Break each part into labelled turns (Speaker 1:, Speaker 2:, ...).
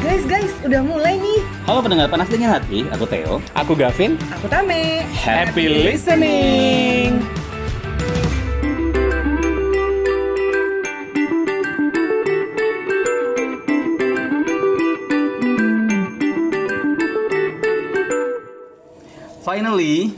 Speaker 1: Guys, guys, udah mulai nih.
Speaker 2: Halo pendengar panas dingin hati, aku Theo.
Speaker 3: Aku Gavin.
Speaker 1: Aku Tame.
Speaker 3: Happy listening.
Speaker 2: Finally,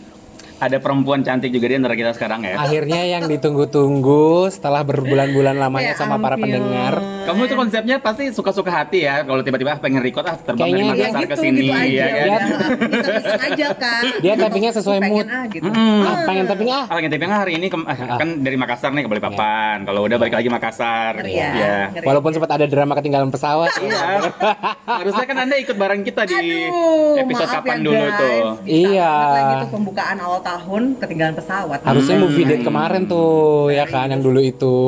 Speaker 2: ada perempuan cantik juga di antara kita sekarang ya.
Speaker 3: Akhirnya yang ditunggu-tunggu setelah berbulan-bulan lamanya
Speaker 1: Ya
Speaker 3: sama para
Speaker 1: ampun.
Speaker 3: pendengar.
Speaker 2: Kamu itu konsepnya pasti suka-suka hati ya. Kalau tiba-tiba ah, pengen record ah terbang
Speaker 3: Kayaknya
Speaker 2: dari
Speaker 1: Ya
Speaker 2: Makassar
Speaker 1: gitu,
Speaker 2: ke sini
Speaker 1: gitu aja.
Speaker 2: ya kan.
Speaker 1: udah. Bisa-bisa aja, Kak.
Speaker 3: Dia tappingnya sesuai
Speaker 1: Pengen,
Speaker 3: mood.
Speaker 1: ah, gitu.
Speaker 2: Mm.
Speaker 3: Ah, pengen tapi ah.
Speaker 2: Ah, pengen tipe ah, hari ini ke- ah, kan dari Makassar nih ke Balikpapan. Kalau udah balik lagi Makassar.
Speaker 1: Ngeri ya.
Speaker 2: Iya.
Speaker 1: Ngeri.
Speaker 3: Walaupun sempat ada drama ketinggalan pesawat.
Speaker 2: Iya. Harusnya kan Anda ikut bareng kita di
Speaker 1: Aduh,
Speaker 2: episode
Speaker 1: maaf
Speaker 2: kapan
Speaker 1: ya,
Speaker 2: dulu
Speaker 1: guys.
Speaker 2: tuh.
Speaker 1: Bisa
Speaker 3: Iya.
Speaker 1: banget Lagi tuh pembukaan awal tahun ketinggalan pesawat. Hmm.
Speaker 3: Harusnya movie date kemarin tuh ya kan yang dulu itu.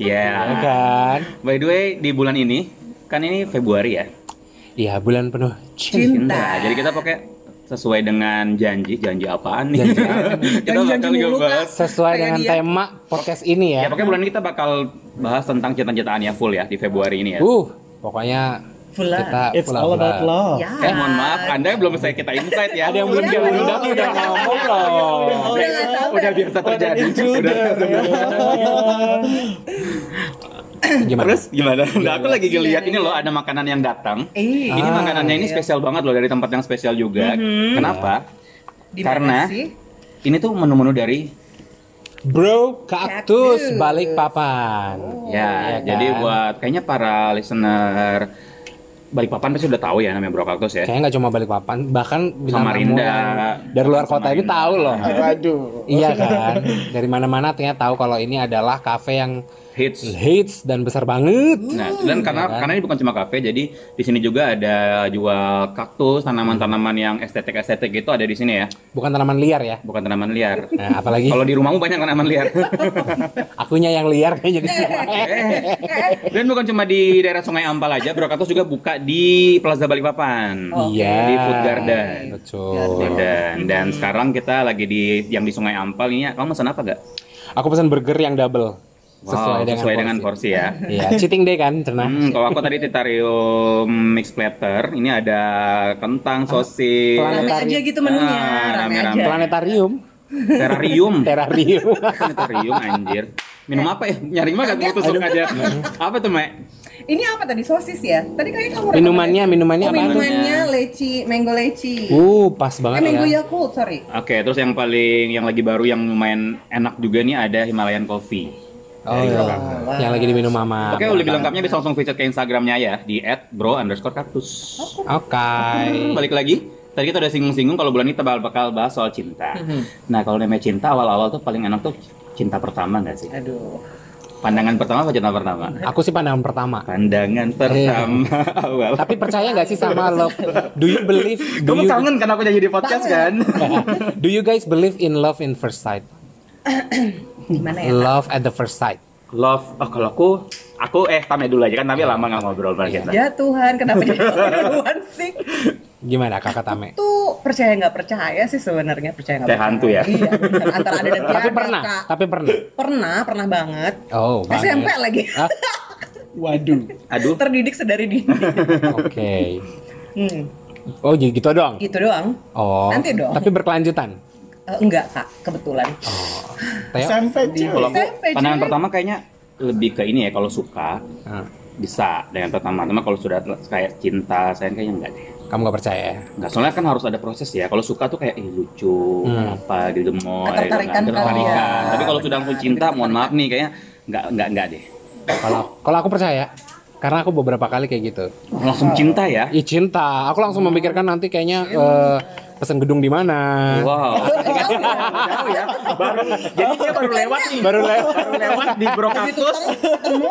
Speaker 2: Iya.
Speaker 3: Ya kan?
Speaker 2: By the way, di bulan ini kan ini Februari ya.
Speaker 3: Iya, bulan penuh cinta.
Speaker 1: Cinta.
Speaker 2: Nah, jadi kita pakai sesuai dengan janji, janji apaan nih?
Speaker 3: Janji
Speaker 2: kita
Speaker 1: Janji-janji
Speaker 2: bakal
Speaker 1: mulu, Kak.
Speaker 2: ngebahas.
Speaker 3: Sesuai
Speaker 1: Kayak
Speaker 3: dengan
Speaker 1: dia.
Speaker 3: tema podcast ini
Speaker 2: Ya,
Speaker 3: ya.
Speaker 2: pokoknya bulan ini kita bakal bahas tentang cinta-cintaan ya full ya di Februari ini ya.
Speaker 3: Uh, pokoknya
Speaker 1: Full love.
Speaker 3: kita
Speaker 4: It's
Speaker 3: full
Speaker 4: all
Speaker 3: love.
Speaker 4: about love.
Speaker 1: Ya.
Speaker 2: Eh, mohon maaf, Anda belum saya kita insight ya.
Speaker 3: Ada yang belum
Speaker 1: Udah,
Speaker 3: dia
Speaker 1: udah,
Speaker 3: undang udah ngomong loh.
Speaker 1: Udah nggak sabar.
Speaker 2: Udah biasa terjadi. Udah.
Speaker 3: Gimana?
Speaker 2: Terus gimana? Nah, aku lagi ngeliat ini loh ada makanan yang datang.
Speaker 1: Ih,
Speaker 2: Ini
Speaker 3: Ah.
Speaker 2: makanannya ini
Speaker 1: Iya.
Speaker 2: spesial banget loh dari tempat yang spesial juga. Kenapa?
Speaker 1: di mana
Speaker 2: Karena
Speaker 1: sih?
Speaker 2: ini tuh menu-menu dari
Speaker 3: Bro Kaktus
Speaker 1: Kaktus.
Speaker 3: balik papan.
Speaker 2: Ya,
Speaker 3: iya
Speaker 2: jadi
Speaker 3: kan?
Speaker 2: buat kayaknya para listener Balikpapan pasti udah tahu ya namanya Bro Kaktus ya.
Speaker 3: Kayaknya nggak cuma balik papan, bahkan bilang
Speaker 2: Samarinda.
Speaker 3: kan? dari luar kota ini
Speaker 2: Samarinda.
Speaker 3: tahu loh.
Speaker 4: Waduh.
Speaker 3: iya kan? Dari mana-mana ternyata tahu kalau ini adalah kafe yang
Speaker 2: Hits.
Speaker 3: hits dan besar banget.
Speaker 2: Nah, dan karena
Speaker 3: Iya kan?
Speaker 2: karena ini bukan cuma kafe, jadi di sini juga ada jual kaktus, tanaman-tanaman yang estetik-estetik gitu ada di sini ya,
Speaker 3: Bukan tanaman liar ya.
Speaker 2: bukan tanaman liar.
Speaker 3: Nah, apalagi
Speaker 2: Kalau di rumahmu banyak tanaman liar.
Speaker 3: akunya yang liar kayaknya gitu.
Speaker 2: Eh,
Speaker 3: di sini.
Speaker 2: dan bukan cuma di daerah Sungai Ampel aja, Bro Kaktus juga buka di Plaza Balikpapan.
Speaker 1: Oh.
Speaker 3: Iya.
Speaker 2: Di food garden. Oh.
Speaker 3: Betul.
Speaker 2: Dan dan sekarang kita lagi di yang di Sungai Ampel ini, kamu pesan apa gak?
Speaker 3: Aku pesan burger yang double.
Speaker 2: Wow, sesuai dengan porsi ya.
Speaker 3: Iya, cheating day kan, cerna.
Speaker 2: Hmm, kalau aku tadi titarium mix platter, ini ada kentang, sosis,
Speaker 1: Rame
Speaker 3: Planetarium.
Speaker 1: aja gitu menunya,
Speaker 2: Ah,
Speaker 1: rame
Speaker 2: rame-rame.
Speaker 1: aja.
Speaker 3: Planetarium,
Speaker 2: terrarium.
Speaker 3: terrarium.
Speaker 2: Planetarium anjir. Minum apa ya? Nyari mah gak tusuk aja. Apa tuh, Mek?
Speaker 1: Ini apa tadi sosis ya? Tadi kayaknya kamu
Speaker 3: minumannya, minumannya
Speaker 1: Oh,
Speaker 3: apa?
Speaker 1: minumannya leci, mango leci.
Speaker 3: Uh, pas
Speaker 1: eh,
Speaker 3: banget
Speaker 1: mango
Speaker 3: ya.
Speaker 1: Yakult, sorry.
Speaker 2: Oke, terus yang paling yang lagi baru yang lumayan enak juga nih ada Himalayan Coffee.
Speaker 3: Oh, iya.
Speaker 1: Wah.
Speaker 3: yang lagi diminum mama.
Speaker 2: ya? Oke, lebih lengkapnya bisa langsung visit ke Instagramnya ya di @bro_kaktus.
Speaker 3: Oke.
Speaker 2: Hmm, Balik lagi. Tadi kita udah singgung-singgung kalau bulan ini kita bakal bahas soal cinta. Nah, kalau namanya cinta awal-awal tuh paling enak tuh cinta pertama nggak sih?
Speaker 1: Aduh.
Speaker 2: Pandangan pertama apa cinta pertama?
Speaker 3: Aku sih pandangan pertama.
Speaker 2: Pandangan pertama awal.
Speaker 3: Tapi percaya nggak sih sama love? Do you believe? Do
Speaker 2: Kamu
Speaker 3: you,
Speaker 2: kangen kan aku jadi di podcast kan?
Speaker 3: do you guys believe in love in first sight?
Speaker 1: Gimana ya?
Speaker 3: Love at the first sight.
Speaker 2: Love. Oh, kalau aku aku eh tame dulu aja kan tapi lama nggak ngobrol sama cinta.
Speaker 1: Ya Tuhan, kenapa jadi orang duluan sih?
Speaker 3: Gimana kakak Tame?
Speaker 1: Tuh percaya nggak percaya sih sebenarnya percaya nggak
Speaker 2: Kayak
Speaker 1: percaya.
Speaker 2: hantu ya?
Speaker 1: Iya, bener. antara ada dan
Speaker 3: Tapi
Speaker 1: tiada,
Speaker 3: pernah,
Speaker 1: Kak.
Speaker 3: tapi pernah.
Speaker 1: Pernah, pernah banget.
Speaker 3: Oh, banget.
Speaker 1: SMP lagi.
Speaker 3: Ah,
Speaker 4: Waduh.
Speaker 2: Aduh.
Speaker 1: Terdidik sedari dini.
Speaker 3: Oke.
Speaker 1: Hmm,
Speaker 3: Oh, jadi gitu dong.
Speaker 1: gitu doang.
Speaker 3: Oh.
Speaker 1: Nanti dong.
Speaker 3: Tapi berkelanjutan.
Speaker 1: Eh, enggak kak, kebetulan.
Speaker 3: Oh. Teo.
Speaker 4: Sampai
Speaker 2: Kalau aku
Speaker 1: SMP, cuy.
Speaker 2: pandangan pertama kayaknya lebih ke ini ya kalau suka
Speaker 3: Ah,
Speaker 2: bisa dengan pertama cuma kalau sudah kayak cinta sayang kayaknya enggak deh
Speaker 3: Kamu nggak percaya? ya?
Speaker 2: Nggak, soalnya kan harus ada proses ya. Kalau suka tuh kayak "Ih, lucu,
Speaker 3: Hmm.
Speaker 2: apa gitu gemoy, gitu kan.
Speaker 1: Ketertarikan kali
Speaker 2: ketertarikan.
Speaker 1: ya.
Speaker 2: Tapi kalau sudah langsung cinta, mohon maaf nih kayaknya nggak nggak nggak deh.
Speaker 3: Kalau kalau aku percaya, karena aku beberapa kali kayak gitu.
Speaker 2: Langsung cinta ya.
Speaker 3: Ih cinta, aku langsung memikirkan nanti kayaknya eh, pesan gedung di mana.
Speaker 2: Wow. Jauh ya. Baru jadi dia baru lewat nih.
Speaker 3: Baru lewat.
Speaker 2: Baru lewat di brokatus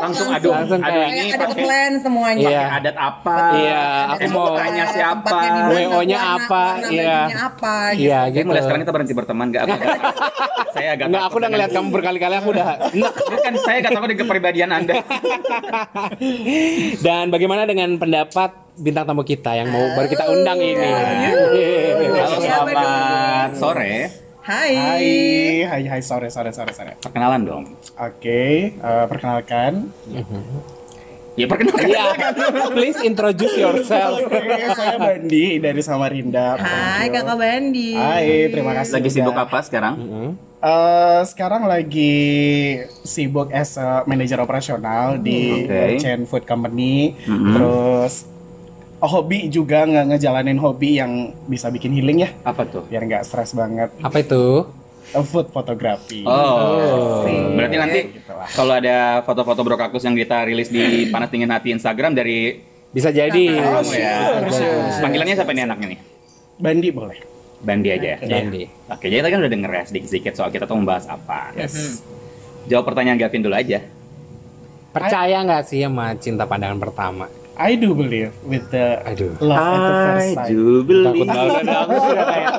Speaker 2: langsung aduh
Speaker 3: Langsung
Speaker 2: aduh
Speaker 3: kayak-
Speaker 1: Kayak
Speaker 2: ini
Speaker 1: ada
Speaker 2: pakai
Speaker 1: plan semuanya.
Speaker 3: Iya.
Speaker 2: adat apa?
Speaker 3: Iya,
Speaker 1: Ada
Speaker 3: aku mau-
Speaker 1: tempatnya,
Speaker 2: tanya siapa.
Speaker 1: tempatnya di mana,
Speaker 3: WO-nya
Speaker 1: warna-
Speaker 3: apa,
Speaker 1: warna
Speaker 3: iya.
Speaker 1: bajunya apa, gitu.
Speaker 3: Iya
Speaker 2: Kayak
Speaker 3: gitu.
Speaker 2: mulai sekarang kita berhenti berteman nggak? Aku agak- saya agak takut
Speaker 3: Enggak, aku udah
Speaker 2: dengan-
Speaker 3: ngeliat kamu berkali-kali aku udah. Nah,
Speaker 2: Bukan saya agak takut dengan kepribadian Anda.
Speaker 3: Dan bagaimana dengan pendapat bintang tamu kita yang mau baru kita undang ini?
Speaker 2: Halo,
Speaker 1: Siapa dong?
Speaker 2: selamat sore.
Speaker 1: Hai.
Speaker 4: Hai, hai, hai, sore, sore, sore, sore.
Speaker 2: Perkenalan dong.
Speaker 4: Oke, eh, perkenalkan,
Speaker 2: Ya perkenalkan.
Speaker 3: Iya, please introduce yourself.
Speaker 4: Oke, saya Bandi dari Samarinda.
Speaker 1: Hai
Speaker 4: Thank you.
Speaker 1: Kakak Bandi.
Speaker 4: Hai, terima kasih.
Speaker 2: Lagi sibuk
Speaker 4: udah-
Speaker 2: apa sekarang?
Speaker 3: Heeh.
Speaker 4: Eh, sekarang lagi sibuk as a manager
Speaker 1: Hmm,
Speaker 4: operasional di
Speaker 2: Oke.
Speaker 4: chain food company.
Speaker 2: Mhm.
Speaker 4: Terus oh, hobi juga nge ngejalanin hobi yang bisa bikin healing ya,
Speaker 2: Apa tuh?
Speaker 4: biar nggak stres banget.
Speaker 3: Apa itu?
Speaker 4: Eh, food photography.
Speaker 2: Oh, berarti nanti
Speaker 4: Gitu lah.
Speaker 2: kalau ada foto-foto bro kaktus yang kita rilis di panas dingin hati Instagram dari
Speaker 3: Bisa jadi.
Speaker 4: Oh,
Speaker 2: kamu ya.
Speaker 4: sure, sure, sure.
Speaker 2: Panggilannya siapa nih anaknya nih?
Speaker 4: Bandi boleh.
Speaker 2: Bandi aja. ya?
Speaker 3: Bandi.
Speaker 2: Oke, jadi tadi kan udah denger ya sedikit-sedikit soal kita tuh membahas apa.
Speaker 4: Yes.
Speaker 2: Jawab pertanyaan Gavin dulu aja.
Speaker 3: Percaya nggak sih sama cinta pandangan pertama?
Speaker 4: I do believe with the
Speaker 3: Aduh.
Speaker 4: love at the first sight.
Speaker 3: Takut banget. Aku sudah kayak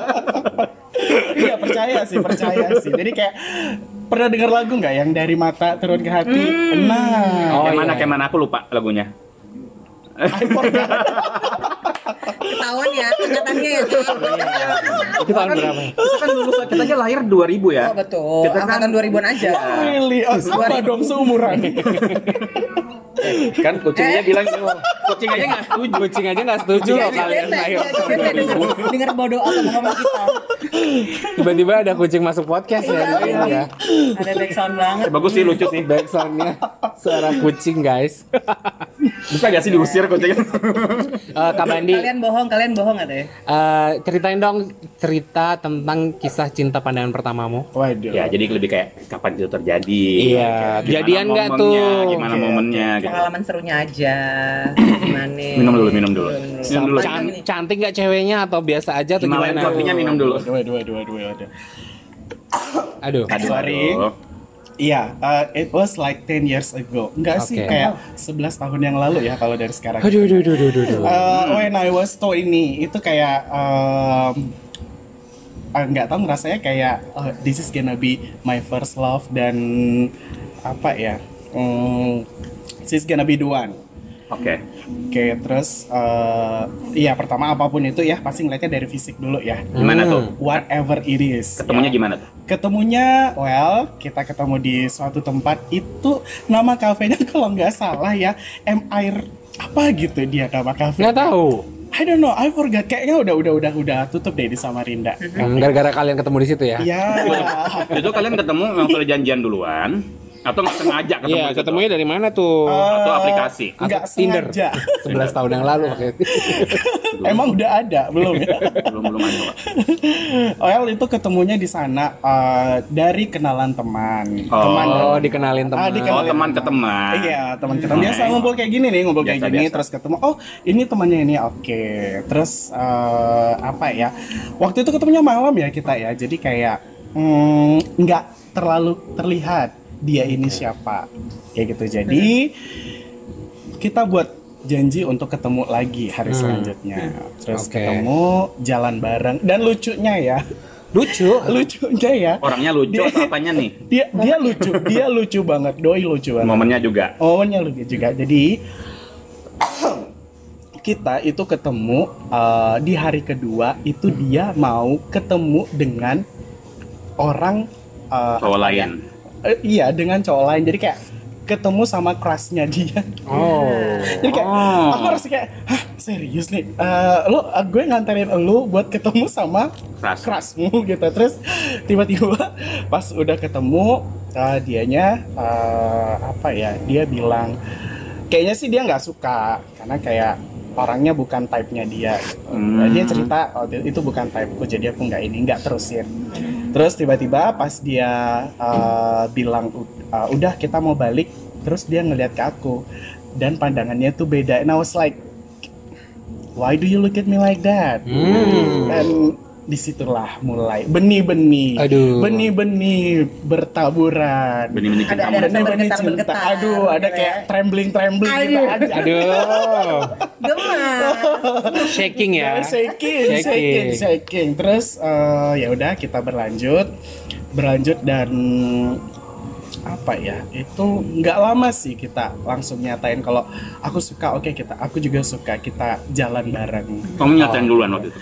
Speaker 4: Iya percaya sih, percaya sih. Jadi kayak pernah dengar lagu nggak yang dari mata turun ke hati? Nah,
Speaker 2: Oh,
Speaker 3: Oh,
Speaker 2: kayak
Speaker 3: iya,
Speaker 2: mana
Speaker 3: iya.
Speaker 2: kayak mana aku lupa lagunya.
Speaker 4: I forgot.
Speaker 1: Ketahuan ya ingatannya ya.
Speaker 4: Iya.
Speaker 1: Kak.
Speaker 3: itu tahun berapa?
Speaker 2: Kita kan dulu kita aja lahir 2000 ya.
Speaker 1: Oh betul.
Speaker 2: Kita kan-
Speaker 1: Angkatan 2000-an aja.
Speaker 4: Really? Oh, sama dong seumuran.
Speaker 2: Kan kucingnya bilang kucing aja nggak setuju.
Speaker 3: Kucing aja nggak setuju ya.
Speaker 1: Jadi
Speaker 3: loh kalian
Speaker 1: bete, jadi
Speaker 3: ayo.
Speaker 1: bete
Speaker 3: iya,
Speaker 1: denger, iya, denger bodoh apa ngomong
Speaker 4: Iya,
Speaker 1: kita.
Speaker 3: Tiba-tiba ada kucing masuk podcast ya. Iya. ya.
Speaker 1: Ada background banget.
Speaker 2: Bagus sih lucu sih.
Speaker 3: Backsoundnya suara kucing guys.
Speaker 2: Bisa gak Iya sih diusir kucingnya?
Speaker 3: Eh Kak Bandi,
Speaker 1: Kalian bohong, kalian bohong ada ya?
Speaker 3: eh, ceritain dong cerita tentang kisah cinta pandangan pertamamu.
Speaker 4: Waduh.
Speaker 2: ya, jadi lebih kayak kapan itu terjadi.
Speaker 3: Iya,
Speaker 2: Gimana
Speaker 3: jadian nggak
Speaker 2: momennya,
Speaker 3: tuh?
Speaker 2: Gimana
Speaker 4: Oke,
Speaker 2: momennya gitu.
Speaker 1: Pengalaman serunya aja. Gimana?
Speaker 2: Minum dulu, minum dulu. Minum dulu.
Speaker 1: Sampai-
Speaker 3: Can- cantik nggak ceweknya atau biasa aja atau
Speaker 2: Himalayan
Speaker 3: gimana?
Speaker 2: coffee-nya minum dulu.
Speaker 4: Dua, dua, dua, dua, dua.
Speaker 3: Aduh.
Speaker 2: Aduh,
Speaker 4: Sorry.
Speaker 2: aduh.
Speaker 4: Iya, uh, it was like 10 years ago. Enggak sih,
Speaker 3: Oke.
Speaker 4: kayak 11 tahun yang lalu ya kalau dari sekarang.
Speaker 3: Aduh, aduh, aduh, aduh, aduh, aduh.
Speaker 4: Uh,
Speaker 2: Hmm.
Speaker 4: when I was to ini itu kayak um, uh, nggak tahu rasanya kayak oh, this is gonna be my first love dan apa ya um, this is gonna be the one.
Speaker 2: Oke.
Speaker 4: Oke terus uh, ya pertama apapun itu ya pasti ngeliatnya dari fisik dulu ya.
Speaker 2: Gimana tuh?
Speaker 4: Whatever it is.
Speaker 2: Ketemunya
Speaker 4: ya.
Speaker 2: gimana tuh?
Speaker 4: Ketemunya, well, kita ketemu di suatu tempat itu nama kafenya kalau nggak salah ya, M Air apa gitu dia nama kafe.
Speaker 3: Nggak tahu.
Speaker 4: I don't know, I forgot. Kayaknya udah udah udah udah tutup deh di Samarinda.
Speaker 3: Hmm, Gara-gara kalian ketemu di situ ya?
Speaker 4: Iya.
Speaker 2: Itu kalian ketemu memang sudah janjian duluan atau nggak sengaja ketemu?
Speaker 3: Iya,
Speaker 2: di situ? Oh.
Speaker 3: ketemunya dari mana tuh?
Speaker 2: Atau aplikasi?
Speaker 4: Enggak
Speaker 3: Atau Tinder?
Speaker 4: sengaja.
Speaker 3: 11 tahun yang lalu kayak
Speaker 2: Belum.
Speaker 4: Emang udah ada belum ya?
Speaker 2: belum belum ada. Pak.
Speaker 4: Well itu ketemunya di sana eh, dari kenalan teman.
Speaker 2: Oh.
Speaker 4: Teman
Speaker 3: Oh, dikenalin teman.
Speaker 4: Ah,
Speaker 2: Oh,
Speaker 4: dikenalin.
Speaker 2: teman ke teman.
Speaker 4: Iya, teman kita biasa
Speaker 2: Nice.
Speaker 4: ngumpul kayak gini nih, ngumpul kayak
Speaker 2: Biasa,
Speaker 4: gini
Speaker 2: biasa.
Speaker 4: terus ketemu. Oh, ini temannya ini. Oke. Terus eh, apa ya? Waktu itu ketemunya malam ya kita ya. Jadi kayak mm, nggak terlalu terlihat dia ini siapa. Kayak gitu. Jadi kita buat janji untuk ketemu lagi hari selanjutnya. Terus
Speaker 3: Oke.
Speaker 4: ketemu jalan bareng dan lucunya ya.
Speaker 3: Lucu.
Speaker 4: lucunya ya.
Speaker 2: Orangnya lucu atau apanya nih?
Speaker 4: Dia dia lucu, dia lucu banget. Doi lucu banget.
Speaker 2: Momennya juga.
Speaker 4: Ohnya lebih juga. gitu kan. Jadi kita itu ketemu eh, di hari kedua itu dia mau ketemu dengan orang eh,
Speaker 2: Cowok Oh, lain.
Speaker 4: eh, iya dengan cowok lain. Jadi kayak ketemu sama crushnya dia.
Speaker 3: Oh.
Speaker 4: Jadi kayak
Speaker 2: Oh.
Speaker 4: aku harus kayak hah serius nih. Eh, lo eh, gue nganterin lo buat ketemu sama
Speaker 2: Keras.
Speaker 4: kerasmu gitu terus tiba-tiba pas udah ketemu eh, dianya eh, apa ya dia bilang kayaknya sih dia nggak suka karena kayak orangnya bukan type-nya dia gitu.
Speaker 2: Hmm.
Speaker 4: dia cerita "Oh, itu bukan typeku jadi aku nggak ini nggak terusin terus tiba-tiba pas dia eh, bilang "Eh, udah kita mau balik terus dia ngeliat ke aku dan pandangannya tuh beda and I was like why do you look at me like that
Speaker 3: Hmm.
Speaker 4: dan disitulah mulai benih-benih
Speaker 3: Aduh.
Speaker 4: benih-benih bertaburan
Speaker 2: Benih-benih
Speaker 1: Ada-
Speaker 2: cintamu.
Speaker 1: ada-
Speaker 4: benih-benih
Speaker 1: bergetar-
Speaker 4: cinta
Speaker 1: bergetar,
Speaker 4: aduh ada
Speaker 1: gitu
Speaker 4: kayak
Speaker 1: ya.
Speaker 4: trembling trembling gitu
Speaker 1: Aduh.
Speaker 4: aja
Speaker 3: Aduh. ya.
Speaker 1: Gemas.
Speaker 3: Shaking ya.
Speaker 4: shaking
Speaker 3: Shaking.
Speaker 4: shaking shaking terus eh, ya udah kita berlanjut berlanjut dan apa ya itu nggak lama sih kita langsung nyatain kalau aku suka oke kita aku juga suka kita jalan bareng
Speaker 2: Kamu nyatain duluan waktu itu.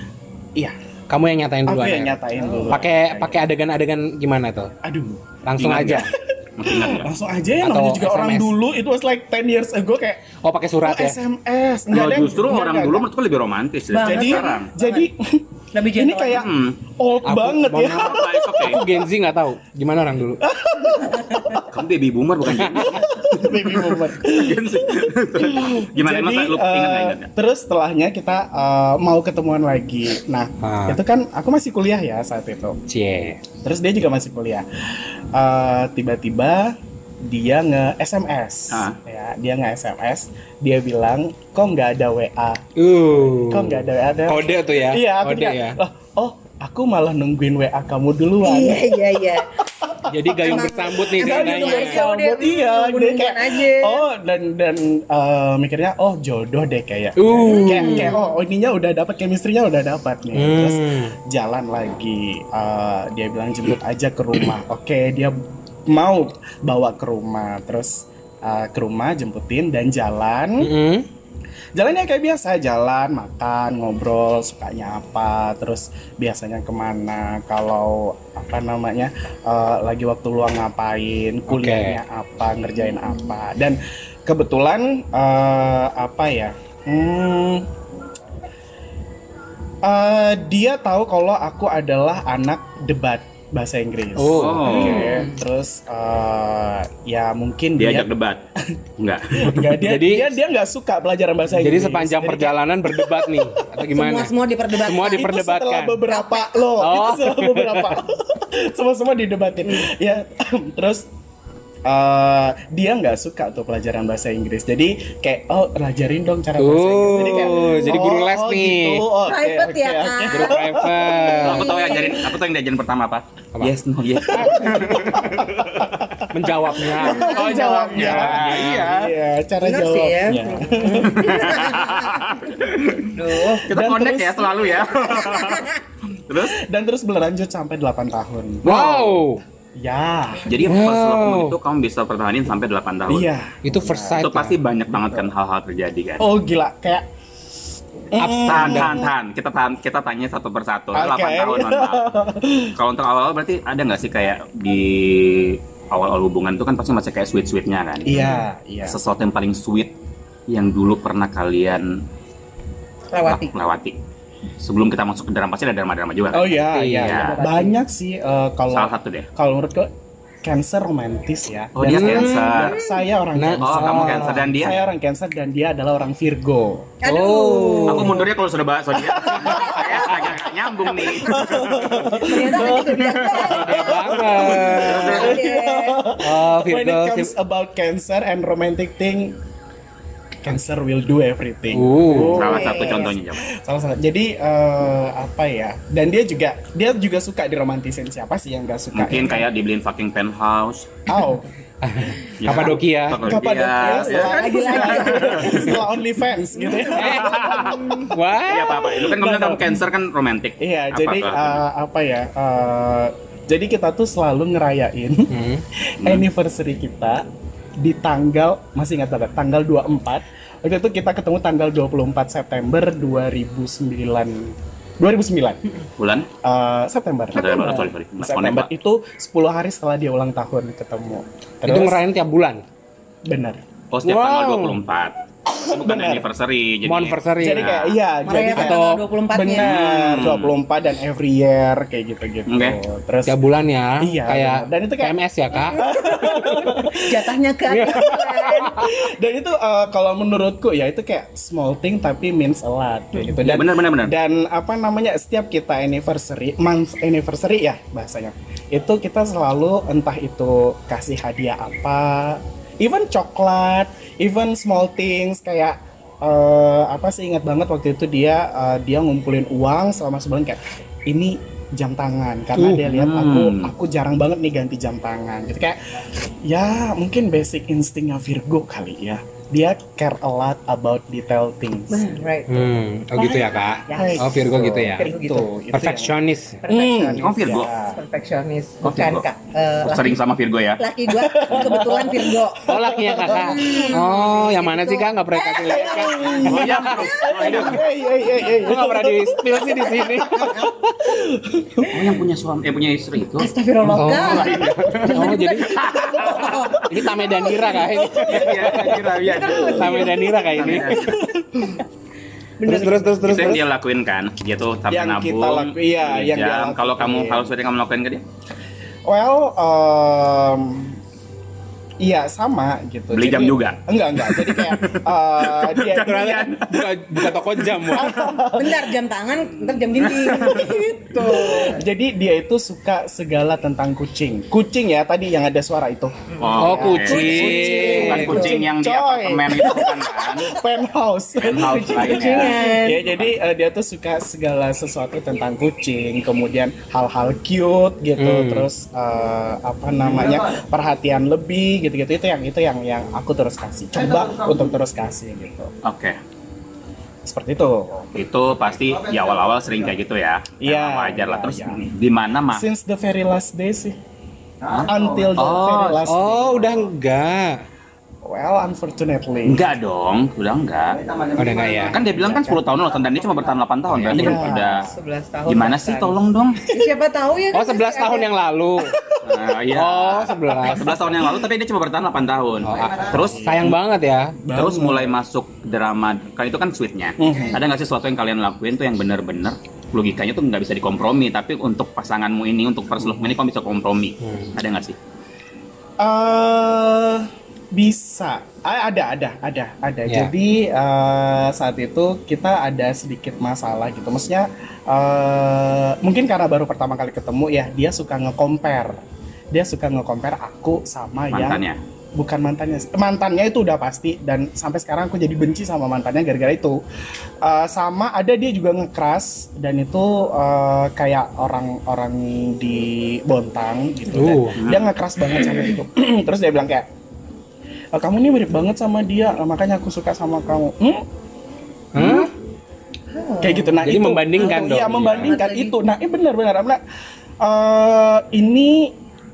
Speaker 4: iya
Speaker 3: Kamu yang nyatain
Speaker 4: aku
Speaker 3: duluan.
Speaker 4: yang
Speaker 3: ya?
Speaker 4: nyatain dulu gitu.
Speaker 3: Pakai pakai adegan-adegan gimana tuh?
Speaker 4: aduh
Speaker 3: Langsung
Speaker 2: Gimana?
Speaker 3: aja.
Speaker 2: Masih ingat nggak?
Speaker 4: langsung aja ya
Speaker 3: Atau
Speaker 4: namanya juga orang
Speaker 3: SMS.
Speaker 4: dulu it was like 10 years ago kayak
Speaker 3: Oh pakai surat
Speaker 4: oh,
Speaker 3: ya?
Speaker 4: SMS enggak
Speaker 2: Nah,
Speaker 4: ada yang-
Speaker 2: justru
Speaker 4: enggak,
Speaker 2: orang
Speaker 4: enggak,
Speaker 2: dulu
Speaker 4: enggak.
Speaker 2: menurutku lebih romantis dari
Speaker 1: Banget.
Speaker 4: jadi
Speaker 2: sekarang.
Speaker 4: jadi
Speaker 1: Lebih
Speaker 4: ini
Speaker 1: gentle.
Speaker 4: kayak
Speaker 2: Hmm.
Speaker 4: old
Speaker 3: Aku-
Speaker 4: banget
Speaker 3: mohon
Speaker 4: ya
Speaker 3: maaf.
Speaker 2: Apa itu kayak
Speaker 3: Aku Gen Z nggak tahu. Gimana orang dulu?
Speaker 2: Oh, kamu baby boomer bukan Gen Z.
Speaker 4: baby boomer
Speaker 2: Gen Z. Gimana Mas? Lu ingat nggak,
Speaker 4: eh,
Speaker 2: ingat nggak?
Speaker 4: terus setelahnya kita eh, mau ketemuan lagi. Nah,
Speaker 3: Ah.
Speaker 4: itu kan aku masih kuliah ya saat itu.
Speaker 3: Cie.
Speaker 4: Terus dia juga masih kuliah. Eh, tiba-tiba dia nge SMS,
Speaker 2: Ah.
Speaker 4: ya dia nge SMS. Dia bilang, kok nggak ada WA,
Speaker 3: Uh.
Speaker 4: kok nggak ada WA. Ada-
Speaker 3: Kode tuh ya?
Speaker 4: Iya, aku
Speaker 3: Kode
Speaker 4: juga,
Speaker 3: ya.
Speaker 4: "Loh, oh aku malah nungguin WA kamu duluan.
Speaker 1: Iya iya iya.
Speaker 3: Jadi gayung bersambut nih
Speaker 1: Emang
Speaker 4: Jadi
Speaker 1: itu
Speaker 3: tandanya.
Speaker 1: baru tahu deh,
Speaker 4: Iya, dia
Speaker 1: nungguin
Speaker 4: kayak
Speaker 1: aja.
Speaker 4: Oh, dan dan eh, mikirnya oh jodoh deh kayak.
Speaker 3: Uh.
Speaker 4: Kayak kayak oh ininya udah dapat chemistry-nya udah dapat nih. Terus
Speaker 3: Hmm.
Speaker 4: jalan lagi Eh, dia bilang jemput aja ke rumah. Oke, dia mau bawa ke rumah. Terus eh, ke rumah jemputin dan jalan.
Speaker 3: Mm-mm.
Speaker 4: Jalannya kayak biasa, jalan, makan, ngobrol, sukanya apa, terus biasanya kemana, kalau apa namanya, eh, lagi waktu luang ngapain, kuliahnya apa, ngerjain apa, dan kebetulan eh, apa ya, hmm, eh, dia tahu kalau aku adalah anak debat bahasa Inggris.
Speaker 3: Oh.
Speaker 4: Oke,
Speaker 2: Oh.
Speaker 4: terus eh, ya mungkin
Speaker 2: Diajak debat. Enggak.
Speaker 4: Nggak, dia,
Speaker 3: Jadi-
Speaker 4: dia dia nggak suka pelajaran bahasa
Speaker 3: Jadi
Speaker 4: Inggris.
Speaker 3: sepanjang
Speaker 4: Jadi
Speaker 3: perjalanan berdebat nih atau gimana?
Speaker 1: Semua semua diperdebatkan.
Speaker 3: Semua di-
Speaker 4: itu
Speaker 3: diperdebatkan.
Speaker 4: setelah beberapa loh, itu
Speaker 3: Oh. Hmm.
Speaker 4: setelah beberapa. Semua-semua didebatin. ya, terus eh, dia nggak suka tuh pelajaran bahasa Inggris. Jadi kayak oh, pelajarin dong cara bahasa Inggris. Jadi kayak
Speaker 3: Oh, jadi guru
Speaker 4: oh,
Speaker 3: les
Speaker 4: oh,
Speaker 3: nih.
Speaker 4: Gitu. Oh, oke,
Speaker 1: Private ya,
Speaker 4: oke,
Speaker 1: Kak.
Speaker 4: oke.
Speaker 3: Guru private.
Speaker 2: Aku tahu yang ajarin, aku tahu yang diajarin pertama apa?
Speaker 3: Apa?
Speaker 2: Yes, no, yes.
Speaker 3: Menjawabnya.
Speaker 4: Oh, jawabnya.
Speaker 3: Iya.
Speaker 4: Iya, cara
Speaker 1: Bener sih ya.
Speaker 4: jawabnya.
Speaker 1: Duh.
Speaker 2: Kita
Speaker 4: Dan
Speaker 2: connect
Speaker 4: terus-
Speaker 2: ya selalu ya. terus
Speaker 4: Dan terus berlanjut sampai 8 tahun.
Speaker 3: Wow.
Speaker 4: Ya.
Speaker 2: jadi first
Speaker 3: Wow.
Speaker 2: love itu kamu bisa pertahanin sampai 8 tahun.
Speaker 4: Iya.
Speaker 3: Itu first sight.
Speaker 2: Itu
Speaker 3: ya?
Speaker 2: pasti banyak banget kan hal-hal terjadi kan.
Speaker 4: Oh, gila kayak
Speaker 2: Tahan, tahan, tahan. Kita tahan, kita tanya satu persatu.
Speaker 4: Oke.
Speaker 2: 8 tahun normal. Kalau untuk awal-awal berarti ada nggak sih kayak di awal-awal hubungan itu kan pasti masih kayak sweet-sweetnya kan.
Speaker 4: Iya, iya.
Speaker 2: Sesuatu yang paling sweet yang dulu pernah kalian
Speaker 1: Lewati.
Speaker 2: lak- lewati. Sebelum kita masuk ke drama pasti ada drama-drama juga. kan?
Speaker 4: Oh iya, iya.
Speaker 2: Iya.
Speaker 4: Banyak sih eh, kalau
Speaker 2: Salah satu deh.
Speaker 4: kalau menurutku Cancer romantis ya.
Speaker 2: Oh, dia Cancer.
Speaker 4: dan saya orang
Speaker 3: Nah,
Speaker 4: Cancer.
Speaker 2: oh, kamu Cancer dan dia?
Speaker 4: Saya orang Cancer dan dia adalah orang Virgo.
Speaker 1: Aduh.
Speaker 2: Oh. Aku mundurnya kalau sudah bahas soalnya saya agak nggak nyambung nih.
Speaker 1: Ternyata ada kebiasaan.
Speaker 3: Iya banget.
Speaker 1: Oke.
Speaker 3: Oh,
Speaker 4: When it
Speaker 3: Virgo.
Speaker 4: comes about Cancer and romantic thing, Cancer will do everything.
Speaker 2: Oh.
Speaker 3: Uh.
Speaker 2: Salah
Speaker 1: Yes.
Speaker 2: satu contohnya coba.
Speaker 4: Salah salah. Jadi eh, apa ya? Dan dia juga dia juga suka diromantisin. Siapa sih yang nggak suka? ya?
Speaker 2: Mungkin kayak dibeliin fucking penthouse.
Speaker 4: Oh,
Speaker 2: ya.
Speaker 3: Kapadokia.
Speaker 4: Kapadokia,
Speaker 2: Kapadokia. ya.
Speaker 4: setelah-
Speaker 1: Lagi-lagi.
Speaker 4: setelah OnlyFans gitu ya.
Speaker 2: Iya
Speaker 3: Wah.
Speaker 2: apa apa. Lu kan kemudian
Speaker 4: Nggak,
Speaker 2: kamu cancer kan romantik.
Speaker 4: Iya,
Speaker 2: Apa
Speaker 4: jadi
Speaker 2: tuh?
Speaker 4: eh, apa ya? eh, jadi kita tuh selalu ngerayain
Speaker 3: Hmm.
Speaker 4: anniversary kita di tanggal masih ingat banget tanggal 24. Waktu itu kita ketemu tanggal 24 September 2009. 2009
Speaker 2: bulan
Speaker 4: eh, September.
Speaker 2: Hmm. September, sorry, sorry. Mas
Speaker 4: September
Speaker 2: Konek,
Speaker 4: itu 10 hari setelah dia ulang tahun ketemu. Terus
Speaker 3: Itu ngerayain tiap bulan.
Speaker 4: bener.
Speaker 2: Oh setiap
Speaker 3: Wow.
Speaker 2: tanggal 24 Itu bukan
Speaker 4: Bener.
Speaker 2: anniversary
Speaker 3: Iya,
Speaker 2: jadi
Speaker 3: Monversary.
Speaker 4: Jadi kayak iya, jadi
Speaker 1: Merayakan
Speaker 4: kayak
Speaker 1: tanggal
Speaker 4: ya.
Speaker 1: 24-nya.
Speaker 4: bener
Speaker 2: Hmm.
Speaker 4: 24 dan every year kayak gitu-gitu.
Speaker 2: Oke.
Speaker 4: Terus
Speaker 3: tiap bulan ya.
Speaker 4: Iya,
Speaker 3: Kayak
Speaker 4: benar. Dan itu kayak-
Speaker 3: PMS ya, Kak.
Speaker 1: Jatahnya ke aku, Len.
Speaker 4: dan itu eh, kalau menurutku ya itu kayak small thing tapi means a lot kayak gitu. Dan
Speaker 2: Bener bener bener
Speaker 4: Dan apa namanya setiap kita anniversary, month anniversary ya bahasanya. Itu kita selalu entah itu kasih hadiah apa, even coklat, even small things kayak eh, apa sih ingat banget waktu itu dia eh, dia ngumpulin uang selama sebulan kayak ini jam tangan
Speaker 3: Uh,
Speaker 4: karena dia lihat aku
Speaker 2: hmm.
Speaker 4: aku jarang gitu. banget nih ganti jam tangan. Jadi kayak ya mungkin basic instingnya Virgo kali ya. dia care a lot about detail things.
Speaker 1: right
Speaker 3: Hmm, oh gitu ya kak.
Speaker 1: Yes.
Speaker 3: Oh Virgo gitu ya.
Speaker 1: Virgo gitu.
Speaker 4: Tuh, itu
Speaker 3: Perfeksionis.
Speaker 1: perfeksionis
Speaker 2: Oh, Virgo.
Speaker 1: Iya.
Speaker 4: ya.
Speaker 1: perfeksionis bukan
Speaker 2: Oh, Virgo.
Speaker 1: kak Eh,
Speaker 2: Sering sama Virgo ya.
Speaker 1: laki gua kebetulan Virgo
Speaker 3: Oh lakinya kakak. Oh yang mana sih kak? Nggak pernah kasih lihat kak.
Speaker 2: Goyang terus. Aduh.
Speaker 4: Hey, hey, hey, hey.
Speaker 3: Gue Eh, nggak pernah di spill sih di sini.
Speaker 2: Oh, yang punya suami eh punya istri itu.
Speaker 1: Astagfirullah
Speaker 3: Oh.
Speaker 1: Kak.
Speaker 3: Oh jadi ini Tame dan Dira kak ini.
Speaker 2: Iya, kira ya.
Speaker 3: Tame dan Dira kak ini. Terus terus terus terus.
Speaker 2: Itu yang
Speaker 3: terus.
Speaker 2: dia lakuin kan. Dia tuh sampai
Speaker 4: Yang
Speaker 2: nabung.
Speaker 4: kita laku- iya,
Speaker 2: beli
Speaker 4: yang dia
Speaker 2: jam.
Speaker 4: lakuin.
Speaker 2: Kalau kamu hal sesuatu yang kamu lakuin ke dia,
Speaker 4: Well, um, iya sama gitu.
Speaker 2: Beli jam juga?
Speaker 4: Enggak enggak. Jadi kayak eh, dia
Speaker 3: Ternyata buka, buka toko jam wah.
Speaker 1: bentar jam tangan bentar jam dinding Gitu.
Speaker 4: itu. Jadi dia itu suka segala tentang kucing. Kucing ya tadi yang ada suara itu.
Speaker 3: Oh
Speaker 2: oke.
Speaker 3: kucing.
Speaker 2: Bukan kucing yang di
Speaker 4: Coy.
Speaker 2: apartemen itu bukan kan.
Speaker 4: Penthouse.
Speaker 2: Penthouse lainnya.
Speaker 4: Ya jadi eh, dia tuh suka segala sesuatu tentang kucing, kemudian hal-hal cute gitu,
Speaker 3: Hmm.
Speaker 4: terus eh, apa namanya perhatian lebih gitu-gitu itu yang itu yang yang aku terus kasih, coba untuk terus kasih gitu,
Speaker 2: Oke.
Speaker 4: seperti itu.
Speaker 2: Itu pasti ya awal-awal sering kayak gitu ya.
Speaker 4: Iya,
Speaker 2: Karena Wajar lah.
Speaker 4: iya,
Speaker 2: Terus
Speaker 4: iya.
Speaker 2: di mana
Speaker 3: Nah.
Speaker 2: mah?
Speaker 4: Since the very last day sih, until the very last day.
Speaker 3: Oh udah enggak.
Speaker 4: Well, unfortunately.
Speaker 2: Enggak dong, udah enggak.
Speaker 3: Udah enggak ya.
Speaker 2: Kan dia bilang kan 10 tahun loh, dan dia cuma bertahan 8 tahun. Berarti
Speaker 4: Iya.
Speaker 2: kan udah
Speaker 1: 11 tahun
Speaker 2: gimana sih
Speaker 1: bahkan.
Speaker 2: tolong dong.
Speaker 1: Ya, siapa tahu ya
Speaker 3: Oh 11 tahun yang lalu.
Speaker 2: Nah, iya.
Speaker 3: Oh 11.
Speaker 2: 11 tahun yang lalu tapi dia cuma bertahan 8 tahun.
Speaker 3: Oh, ah.
Speaker 2: Terus
Speaker 3: Sayang banget ya.
Speaker 2: terus mulai masuk drama. Kan itu kan sweetnya. Ada nggak sih sesuatu yang kalian lakuin tuh yang bener-bener logikanya tuh nggak bisa dikompromi tapi untuk pasanganmu ini untuk first love ini kamu bisa kompromi ada nggak sih
Speaker 4: eh bisa. Ah, ada, ada, ada, ada.
Speaker 3: Ya.
Speaker 4: Jadi eh, saat itu kita ada sedikit masalah gitu. Maksudnya eh mungkin karena baru pertama kali ketemu ya, dia suka nge-compare. Dia suka nge-compare aku sama yang
Speaker 2: mantannya
Speaker 4: bukan mantannya sih. mantannya itu udah pasti dan sampai sekarang aku jadi benci sama mantannya gara-gara itu Eh, sama ada dia juga ngekeras dan itu eh, kayak orang-orang di Bontang gitu dan
Speaker 3: Uh.
Speaker 4: dia ngekeras banget sama itu terus dia bilang kayak "Eh, kamu nih mirip banget sama dia eh, makanya aku suka sama kamu Hmm?
Speaker 3: Hmm?
Speaker 4: kayak gitu nah
Speaker 3: Jadi
Speaker 4: itu
Speaker 3: membandingkan
Speaker 4: iya
Speaker 3: dong.
Speaker 4: membandingkan
Speaker 1: Iya.
Speaker 4: itu nah ini benar-benar nah, eh, ini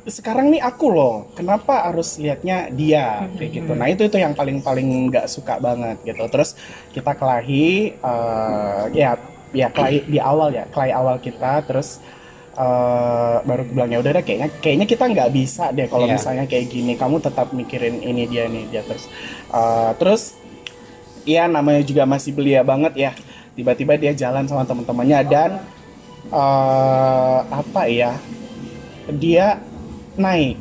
Speaker 4: sekarang nih aku loh kenapa harus lihatnya dia kayak gitu nah itu itu yang paling paling nggak suka banget gitu terus kita kelahi eh, ya ya kelahi di awal ya kelahi awal kita terus eh, baru bilang ya udah deh kayaknya kayaknya kita nggak bisa deh kalau
Speaker 3: Iya.
Speaker 4: misalnya kayak gini kamu tetap mikirin ini dia nih dia terus eh, terus Iya namanya juga masih belia banget ya. Tiba-tiba dia jalan sama teman-temannya dan eh apa ya? Dia naik,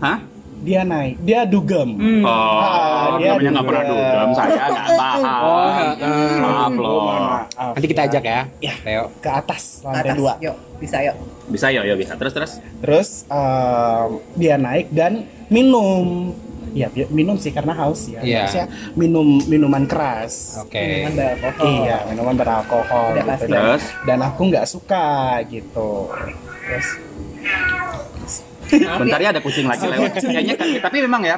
Speaker 2: hah
Speaker 4: dia naik, dia
Speaker 3: Hmm.
Speaker 4: dugem.
Speaker 1: Hmm.
Speaker 4: Ah,
Speaker 2: Oh,
Speaker 4: dia
Speaker 2: namanya nggak
Speaker 4: juga.
Speaker 2: pernah dugem, saya nggak paham.
Speaker 3: Oh, heeh.
Speaker 2: Maaf
Speaker 4: Oh,
Speaker 2: loh.
Speaker 4: mohon maaf
Speaker 3: Nanti kita
Speaker 4: ya.
Speaker 3: ajak ya.
Speaker 4: Ya.
Speaker 3: Teo.
Speaker 4: ke atas
Speaker 1: Ke
Speaker 4: lantai
Speaker 1: atas.
Speaker 4: dua.
Speaker 1: yuk bisa yuk
Speaker 2: Bisa ya, ya bisa. Terus terus.
Speaker 4: Terus em, dia naik dan minum. Ya bi- minum sih karena haus ya.
Speaker 3: Iya.
Speaker 4: Maksudnya minum minuman keras.
Speaker 1: minuman
Speaker 3: Oke.
Speaker 1: beralkohol
Speaker 4: Iya, minuman beralkohol
Speaker 1: Udah
Speaker 4: gitu.
Speaker 1: pasti.
Speaker 4: Dan,
Speaker 2: Terus?
Speaker 4: dan aku nggak suka gitu. Terus
Speaker 1: Maaf
Speaker 2: Bentar ya ada kucing lagi lewat. Kayaknya kan, tapi memang ya.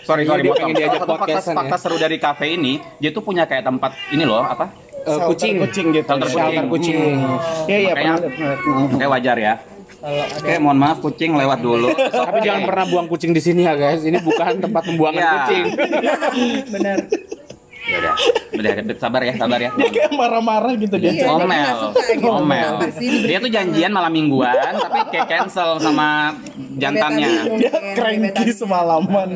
Speaker 2: Sorry, sorry,
Speaker 3: Dia
Speaker 2: motong.
Speaker 3: pengen diajak
Speaker 2: Salah satu fakta,
Speaker 3: podcastan ya.
Speaker 2: fakta seru dari kafe ini, dia tuh punya kayak tempat ini loh, apa?
Speaker 3: Eh,
Speaker 4: shelter
Speaker 3: kucing.
Speaker 4: kucing gitu
Speaker 2: Shelter
Speaker 4: ya.
Speaker 2: kucing.
Speaker 3: Shelter kucing.
Speaker 4: Iya iya
Speaker 2: Makanya-
Speaker 4: pernah- pernah.
Speaker 2: Kayak wajar ya.
Speaker 1: kalau ada
Speaker 2: Oke, mohon maaf kucing lewat dulu.
Speaker 3: Tapi jangan pernah buang kucing di sini ya guys. Ini bukan tempat pembuangan
Speaker 2: Iya.
Speaker 3: kucing.
Speaker 1: benar
Speaker 2: Ya udah. Udah, sabar ya, sabar ya.
Speaker 4: Dia kayak marah-marah gitu dia.
Speaker 1: Iya. dia
Speaker 2: Omel,
Speaker 1: nggak suka gitu.
Speaker 2: omel.
Speaker 1: Kenapa sih? gitu.
Speaker 2: Dia tuh janjian malam mingguan, tapi kayak cancel sama jantannya.
Speaker 1: Betadine.
Speaker 4: Dia cranky semalaman.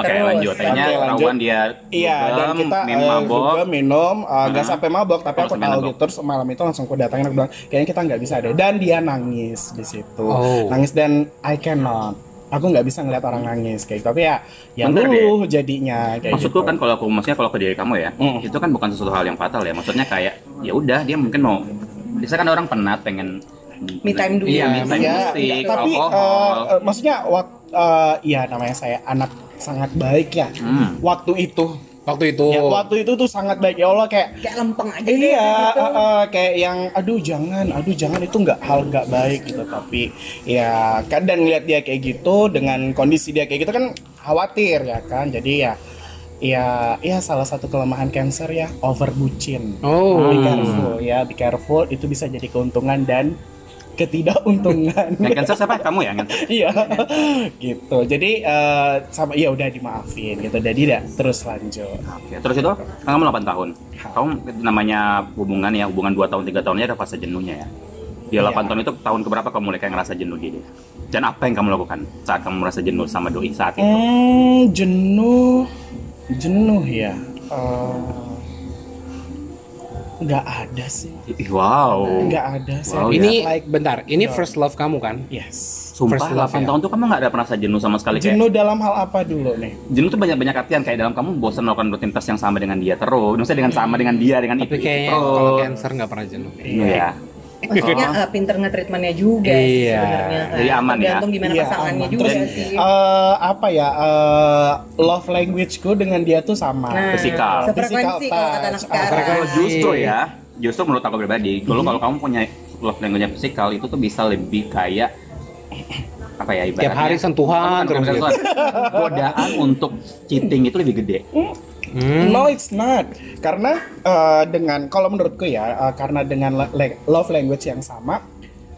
Speaker 2: Oke
Speaker 1: Terus.
Speaker 2: lanjut, akhirnya
Speaker 4: Oke, lanjut.
Speaker 2: ketahuan dia
Speaker 4: Iya, dan
Speaker 2: dugem,
Speaker 4: kita
Speaker 2: minum
Speaker 4: eh,
Speaker 2: mabok.
Speaker 4: juga minum eh, nggak
Speaker 2: Aha.
Speaker 4: sampai mabok tapi
Speaker 2: Nggak
Speaker 4: aku
Speaker 2: sampai
Speaker 4: tahu
Speaker 2: mabok.
Speaker 4: gitu terus malam itu langsung aku datangin aku bilang kayaknya kita nggak bisa deh dan dia nangis di situ.
Speaker 3: Oh.
Speaker 4: Nangis dan I cannot. Aku nggak bisa ngeliat orang nangis kayak gitu. Tapi ya ya
Speaker 2: Bentar deh.
Speaker 4: luluh jadinya kayak
Speaker 2: Maksudku
Speaker 4: gitu.
Speaker 2: kan kalau aku maksudnya kalau ke diri kamu ya,
Speaker 4: Mm.
Speaker 2: itu kan bukan sesuatu hal yang fatal ya. Maksudnya kayak ya udah dia mungkin mau biasanya kan orang penat pengen
Speaker 1: Me time dulu.
Speaker 2: Iya, me time
Speaker 4: Iya,
Speaker 2: musik,
Speaker 4: tapi
Speaker 2: alkohol.
Speaker 4: eh, eh, maksudnya waktu ya namanya saya anak sangat baik ya.
Speaker 2: Hmm. Oh.
Speaker 4: Waktu itu
Speaker 3: Waktu itu.
Speaker 4: Ya, waktu itu tuh sangat baik ya Allah kayak
Speaker 1: kayak lempeng aja
Speaker 4: eh,
Speaker 1: dia,
Speaker 4: iya
Speaker 1: gitu.
Speaker 4: eh, eh, kayak yang aduh jangan aduh jangan itu nggak hal nggak baik gitu tapi ya kadang ngeliat dia kayak gitu dengan kondisi dia kayak gitu kan khawatir ya kan jadi ya ya ya salah satu kelemahan cancer ya over bucin
Speaker 3: Oh,
Speaker 4: be careful ya be careful itu bisa jadi keuntungan dan ketidakuntungan
Speaker 2: Yang cancer siapa? Kamu ya? yang cancer?
Speaker 4: iya gitu jadi eh, sama ya udah dimaafin gitu jadi tidak terus lanjut
Speaker 2: Oke, Terus itu, kan kamu 8 tahun.
Speaker 3: Iya.
Speaker 2: Kamu namanya hubungan ya, hubungan 2 tahun, 3 tahunnya ada fase jenuhnya ya. Di 8
Speaker 4: Iya.
Speaker 2: tahun itu tahun keberapa kamu mulai kayak ngerasa jenuh gitu? Dan apa yang kamu lakukan saat kamu merasa jenuh sama doi saat itu?
Speaker 4: Hmm, jenuh, jenuh ya. Eh, Nggak ada sih,
Speaker 2: Ih,
Speaker 3: Eh.
Speaker 2: Wow.
Speaker 4: nggak ada sih.
Speaker 2: Wow,
Speaker 4: Ini
Speaker 3: ini
Speaker 4: like
Speaker 3: bentar, ini
Speaker 4: No.
Speaker 3: first love kamu kan?
Speaker 4: yes.
Speaker 2: Sumpah
Speaker 3: First love
Speaker 2: 8
Speaker 3: ya.
Speaker 2: tahun tuh kamu nggak ada merasa jenuh sama sekali kayak
Speaker 4: Jenuh dalam hal apa dulu nih?
Speaker 2: jenuh tuh banyak-banyak artian kayak dalam kamu bosan melakukan rutinitas yang sama dengan dia terus maksudnya dengan sama dengan dia dengan itu
Speaker 3: Tapi
Speaker 2: itu
Speaker 3: kayaknya
Speaker 2: terus.
Speaker 3: kalau cancer ya. nggak pernah jenuh.
Speaker 2: iya
Speaker 1: Maksudnya
Speaker 2: Oh.
Speaker 1: eh, pinter nge-treatmentnya juga sih
Speaker 3: Iya.
Speaker 1: sebenarnya kan.
Speaker 2: Jadi aman ya?
Speaker 1: Tergantung gimana
Speaker 4: Iya,
Speaker 1: pasangannya
Speaker 4: aman.
Speaker 1: juga
Speaker 2: Terus,
Speaker 1: sih.
Speaker 4: Eh, apa ya? Eh, love languageku dengan dia tuh sama.
Speaker 1: Nah,
Speaker 2: Fisikal.
Speaker 1: Sefrekuensi
Speaker 4: Physical
Speaker 1: kalau kata anak
Speaker 4: touch.
Speaker 1: sekarang. Oh.
Speaker 2: Karena kalau
Speaker 4: Iya
Speaker 3: Asik.
Speaker 2: justru ya justru menurut aku pribadi
Speaker 4: Mm-hmm.
Speaker 2: kalau kalau kamu punya love language fisikal itu tuh bisa lebih kayak apa ya ibaratnya
Speaker 3: Tiap hari
Speaker 2: Bukan,
Speaker 3: sentuhan
Speaker 2: bukan
Speaker 3: terus. gitu.
Speaker 2: sentuhan. godaan untuk cheating itu lebih gede
Speaker 3: Hmm.
Speaker 4: No, it's not. Karena eh, dengan kalau menurutku ya, eh, karena dengan la- la- love language yang sama,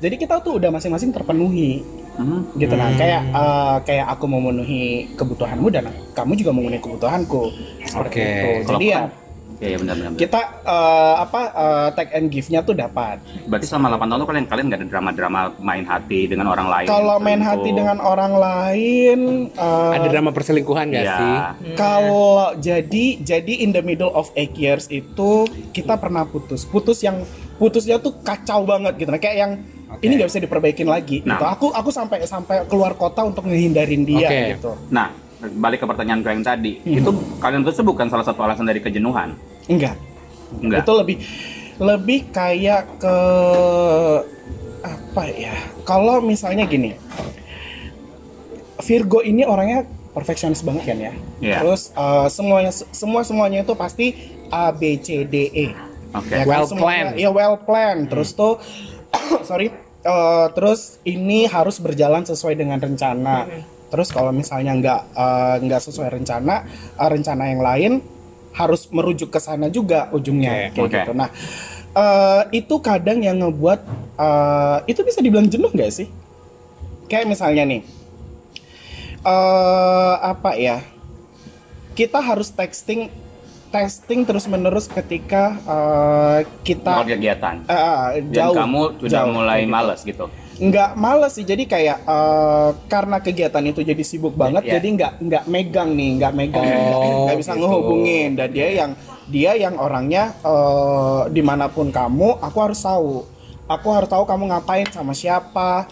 Speaker 4: jadi kita tuh udah masing-masing terpenuhi.
Speaker 2: Hmm.
Speaker 4: gitu nah
Speaker 3: Hmm.
Speaker 4: kayak eh, kayak aku memenuhi kebutuhanmu dan kamu juga memenuhi kebutuhanku seperti
Speaker 3: Oke. kan
Speaker 4: itu
Speaker 2: Kalau
Speaker 4: jadi ya
Speaker 2: aku Iya iya, benar benar. benar.
Speaker 4: kita eh, apa eh, tag and give-nya tuh dapat
Speaker 2: Berarti selama 8 tahun tuh kalian kalian nggak ada drama-drama main hati dengan orang lain. gitu.
Speaker 4: kalau main
Speaker 2: selingkuh.
Speaker 4: hati dengan orang lain eh,
Speaker 3: Ada drama perselingkuhan nggak
Speaker 2: Iya.
Speaker 3: sih?
Speaker 4: kalau jadi jadi in the middle of eight years itu kita pernah putus putus yang putusnya tuh kacau banget gitu nah kayak yang
Speaker 3: Oke.
Speaker 4: ini nggak bisa diperbaikin lagi
Speaker 2: Nah.
Speaker 4: gitu aku aku sampai sampai keluar kota untuk ngehindarin dia
Speaker 3: Oke.
Speaker 4: gitu
Speaker 2: Nah, balik ke pertanyaan kau yang tadi,
Speaker 4: Mm-hmm.
Speaker 2: itu kalian tuh bukan salah satu alasan dari kejenuhan.
Speaker 4: enggak
Speaker 2: Enggak.
Speaker 4: Itu lebih lebih kayak ke apa ya? Kalau misalnya gini. Virgo ini orangnya perfeksionis banget kan ya.
Speaker 2: Iya.
Speaker 4: Terus eh, semuanya semua semuanya itu pasti A B C D E.
Speaker 2: Oke. Hmm.
Speaker 4: Ya kan?
Speaker 3: Well
Speaker 4: Semuanya-
Speaker 3: planned.
Speaker 4: Ya well planned. Terus tuh sorry eh, terus ini harus berjalan sesuai dengan rencana.
Speaker 3: Hmm.
Speaker 4: Terus kalau misalnya nggak eh, nggak sesuai rencana, eh, rencana yang lain harus merujuk ke sana juga ujungnya
Speaker 2: Oke,
Speaker 4: kayak
Speaker 2: oke.
Speaker 4: gitu. Nah, eh, itu kadang yang ngebuat eh, itu bisa dibilang jenuh nggak sih? Kayak misalnya nih, eh apa ya? Kita harus texting, testing terus menerus ketika eh,
Speaker 2: Melakukan
Speaker 4: kita
Speaker 2: kegiatan.
Speaker 4: eh, eh,
Speaker 2: Dan
Speaker 4: jauh.
Speaker 2: kamu sudah
Speaker 4: jauh,
Speaker 2: mulai
Speaker 4: kayak gitu.
Speaker 2: males gitu.
Speaker 4: Nggak males sih, jadi kayak eh, karena kegiatan itu jadi sibuk banget,
Speaker 2: Iya.
Speaker 4: jadi nggak nggak megang nih, nggak megang, nggak-
Speaker 3: Oh,
Speaker 4: nggak bisa
Speaker 3: gitu.
Speaker 4: ngehubungin. Dan dia
Speaker 2: Iya.
Speaker 4: yang dia yang orangnya eh, dimanapun kamu, aku harus tahu, aku harus tahu kamu ngapain sama siapa,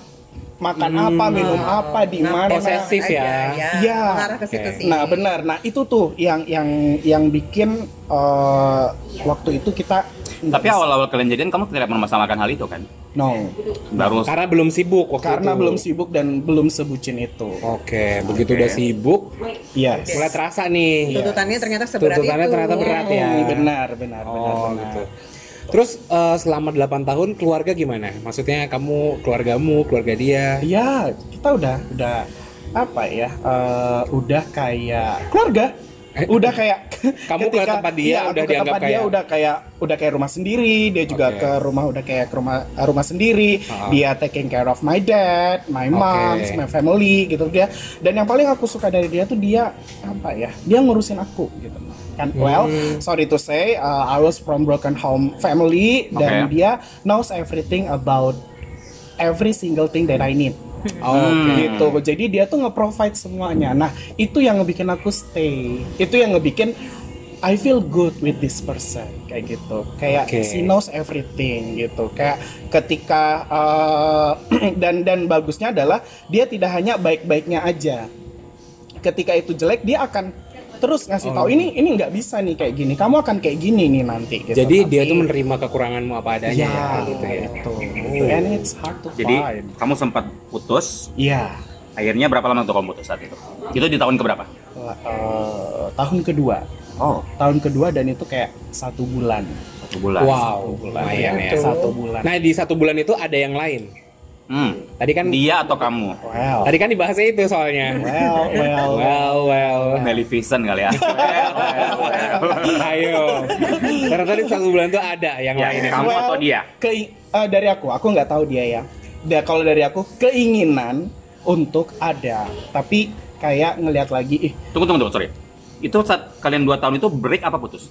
Speaker 4: makan
Speaker 2: Hmm.
Speaker 4: apa, minum apa, di
Speaker 1: Nah,
Speaker 4: mana.
Speaker 3: posesif ya.
Speaker 1: Iya.
Speaker 4: Iya.
Speaker 1: Mengarah ke situ
Speaker 3: Oke.
Speaker 1: sih.
Speaker 4: Nah benar, nah itu tuh yang yang yang bikin eh, waktu itu kita nggak
Speaker 2: Tapi
Speaker 4: bisa.
Speaker 2: awal-awal kalian jadian kamu tidak mempermasalahkan hal itu kan?
Speaker 4: no
Speaker 2: Baru
Speaker 4: Nah, kan,
Speaker 3: Karena belum sibuk waktu itu.
Speaker 4: karena belum sibuk dan belum sebucin itu.
Speaker 3: Oke, begitu udah sibuk,
Speaker 4: Yes.
Speaker 3: mulai terasa nih.
Speaker 1: Tuntutannya ternyata seberat
Speaker 3: Iya. Tuntutannya
Speaker 1: itu.
Speaker 3: ternyata berat ya.
Speaker 4: Hmm, benar, benar, benar,
Speaker 3: Oh,
Speaker 4: benar.
Speaker 3: gitu. Terus eh, selama 8 tahun keluarga gimana? Maksudnya kamu, keluargamu, keluarga dia.
Speaker 4: Iya, kita udah udah apa ya? eh, udah kayak keluarga. Udah kayak
Speaker 3: Eh, Kamu ke tempat dia,
Speaker 4: iya, aku
Speaker 3: udah
Speaker 4: ke
Speaker 3: dianggap
Speaker 4: tempat dia
Speaker 3: kayak-
Speaker 4: udah kayak udah kayak rumah sendiri, dia juga
Speaker 3: Oke.
Speaker 4: ke rumah udah kayak ke rumah eh, rumah sendiri.
Speaker 3: Ha-ha.
Speaker 4: Dia taking care of my dad, my mom,
Speaker 3: Oke.
Speaker 4: my family gitu dia. Dan yang paling aku suka dari dia tuh dia apa ya? Dia ngurusin aku gitu. Kan
Speaker 3: Hmm.
Speaker 4: well, sorry to say, uh, I was from broken home family dan
Speaker 2: Oke.
Speaker 4: dia knows everything about every single thing that I need
Speaker 3: Oh, Oke.
Speaker 4: gitu jadi dia tuh nge-provide semuanya nah itu yang ngebikin aku stay itu yang ngebikin I feel good with this person kayak gitu kayak
Speaker 3: Oke.
Speaker 4: she knows everything gitu kayak ketika uh, dan dan bagusnya adalah dia tidak hanya baik-baiknya aja ketika itu jelek dia akan terus ngasih
Speaker 3: Oh.
Speaker 4: tahu ini ini nggak bisa nih kayak gini kamu akan kayak gini nih nanti gitu.
Speaker 3: Jadi dia
Speaker 4: Tapi-
Speaker 3: tuh menerima kekuranganmu apa adanya
Speaker 4: ya,
Speaker 3: ya, gitu ya.
Speaker 4: gitu.
Speaker 3: Oh.
Speaker 4: and it's hard to
Speaker 2: jadi
Speaker 4: find
Speaker 2: kamu sempat putus.
Speaker 4: ya
Speaker 2: Akhirnya berapa lama tuh kamu putus saat itu? Itu di tahun keberapa?
Speaker 4: eh, tahun kedua
Speaker 2: Oh,
Speaker 4: tahun kedua dan itu kayak satu bulan
Speaker 2: satu bulan.
Speaker 3: Wow, lumayan ya.
Speaker 4: satu bulan
Speaker 3: Nah di satu bulan itu ada yang lain.
Speaker 2: Hmm.
Speaker 3: Tadi kan
Speaker 2: Dia atau kamu?
Speaker 4: Wow.
Speaker 3: tadi kan dibahasnya itu soalnya.
Speaker 4: Well, well.
Speaker 2: Oh.
Speaker 3: Well, well.
Speaker 2: Maleficent kali ya.
Speaker 3: Ayo. Karena tadi satu bulan tuh ada yang
Speaker 2: Ya,
Speaker 3: lain.
Speaker 2: kamu atau dia?
Speaker 4: Ke, eh, dari aku, aku nggak tahu dia ya. Da, kalau dari aku keinginan untuk ada, tapi kayak ngelihat lagi, ih
Speaker 2: Tunggu, tunggu, tunggu, sorry. Itu saat kalian dua tahun itu break apa putus?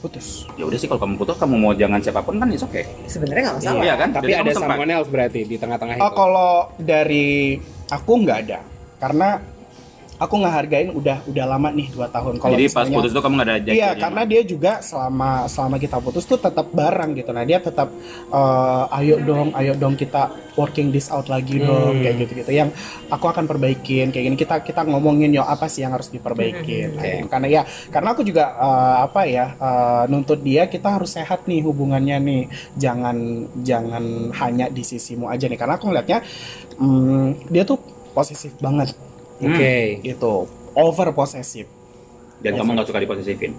Speaker 4: putus.
Speaker 2: Ya udah sih kalau kamu putus kamu mau jangan siapapun kan it's okay.
Speaker 1: Sebenarnya nggak masalah.
Speaker 2: Iya kan?
Speaker 3: Tapi
Speaker 2: Jadi kamu
Speaker 3: ada
Speaker 2: sempat.
Speaker 3: someone else berarti di tengah-tengah Nah, itu.
Speaker 4: Oh, kalau dari aku nggak ada, karena aku ngehargain udah udah lama nih dua tahun. Kalau
Speaker 2: Jadi pas
Speaker 4: misalnya-
Speaker 2: putus itu kamu nggak ada
Speaker 4: Iya,
Speaker 2: jadian.
Speaker 4: karena dia juga selama selama kita putus tuh tetap bareng gitu. Nah, dia tetap eh, ayo dong, ayo dong kita working this out lagi dong
Speaker 3: Hmm.
Speaker 4: kayak gitu-gitu. Yang aku akan perbaikin kayak gini. Kita kita ngomongin yo apa sih yang harus diperbaikin. Nah,
Speaker 3: Oke.
Speaker 4: gitu. Karena ya karena aku juga eh, apa ya eh, nuntut dia kita harus sehat nih hubungannya nih. Jangan jangan hanya di sisimu aja nih. Karena aku ngeliatnya mm, dia tuh posesif banget
Speaker 3: Oke.
Speaker 4: gitu. Over posesif.
Speaker 2: Dan kamu nggak suka diposesifin.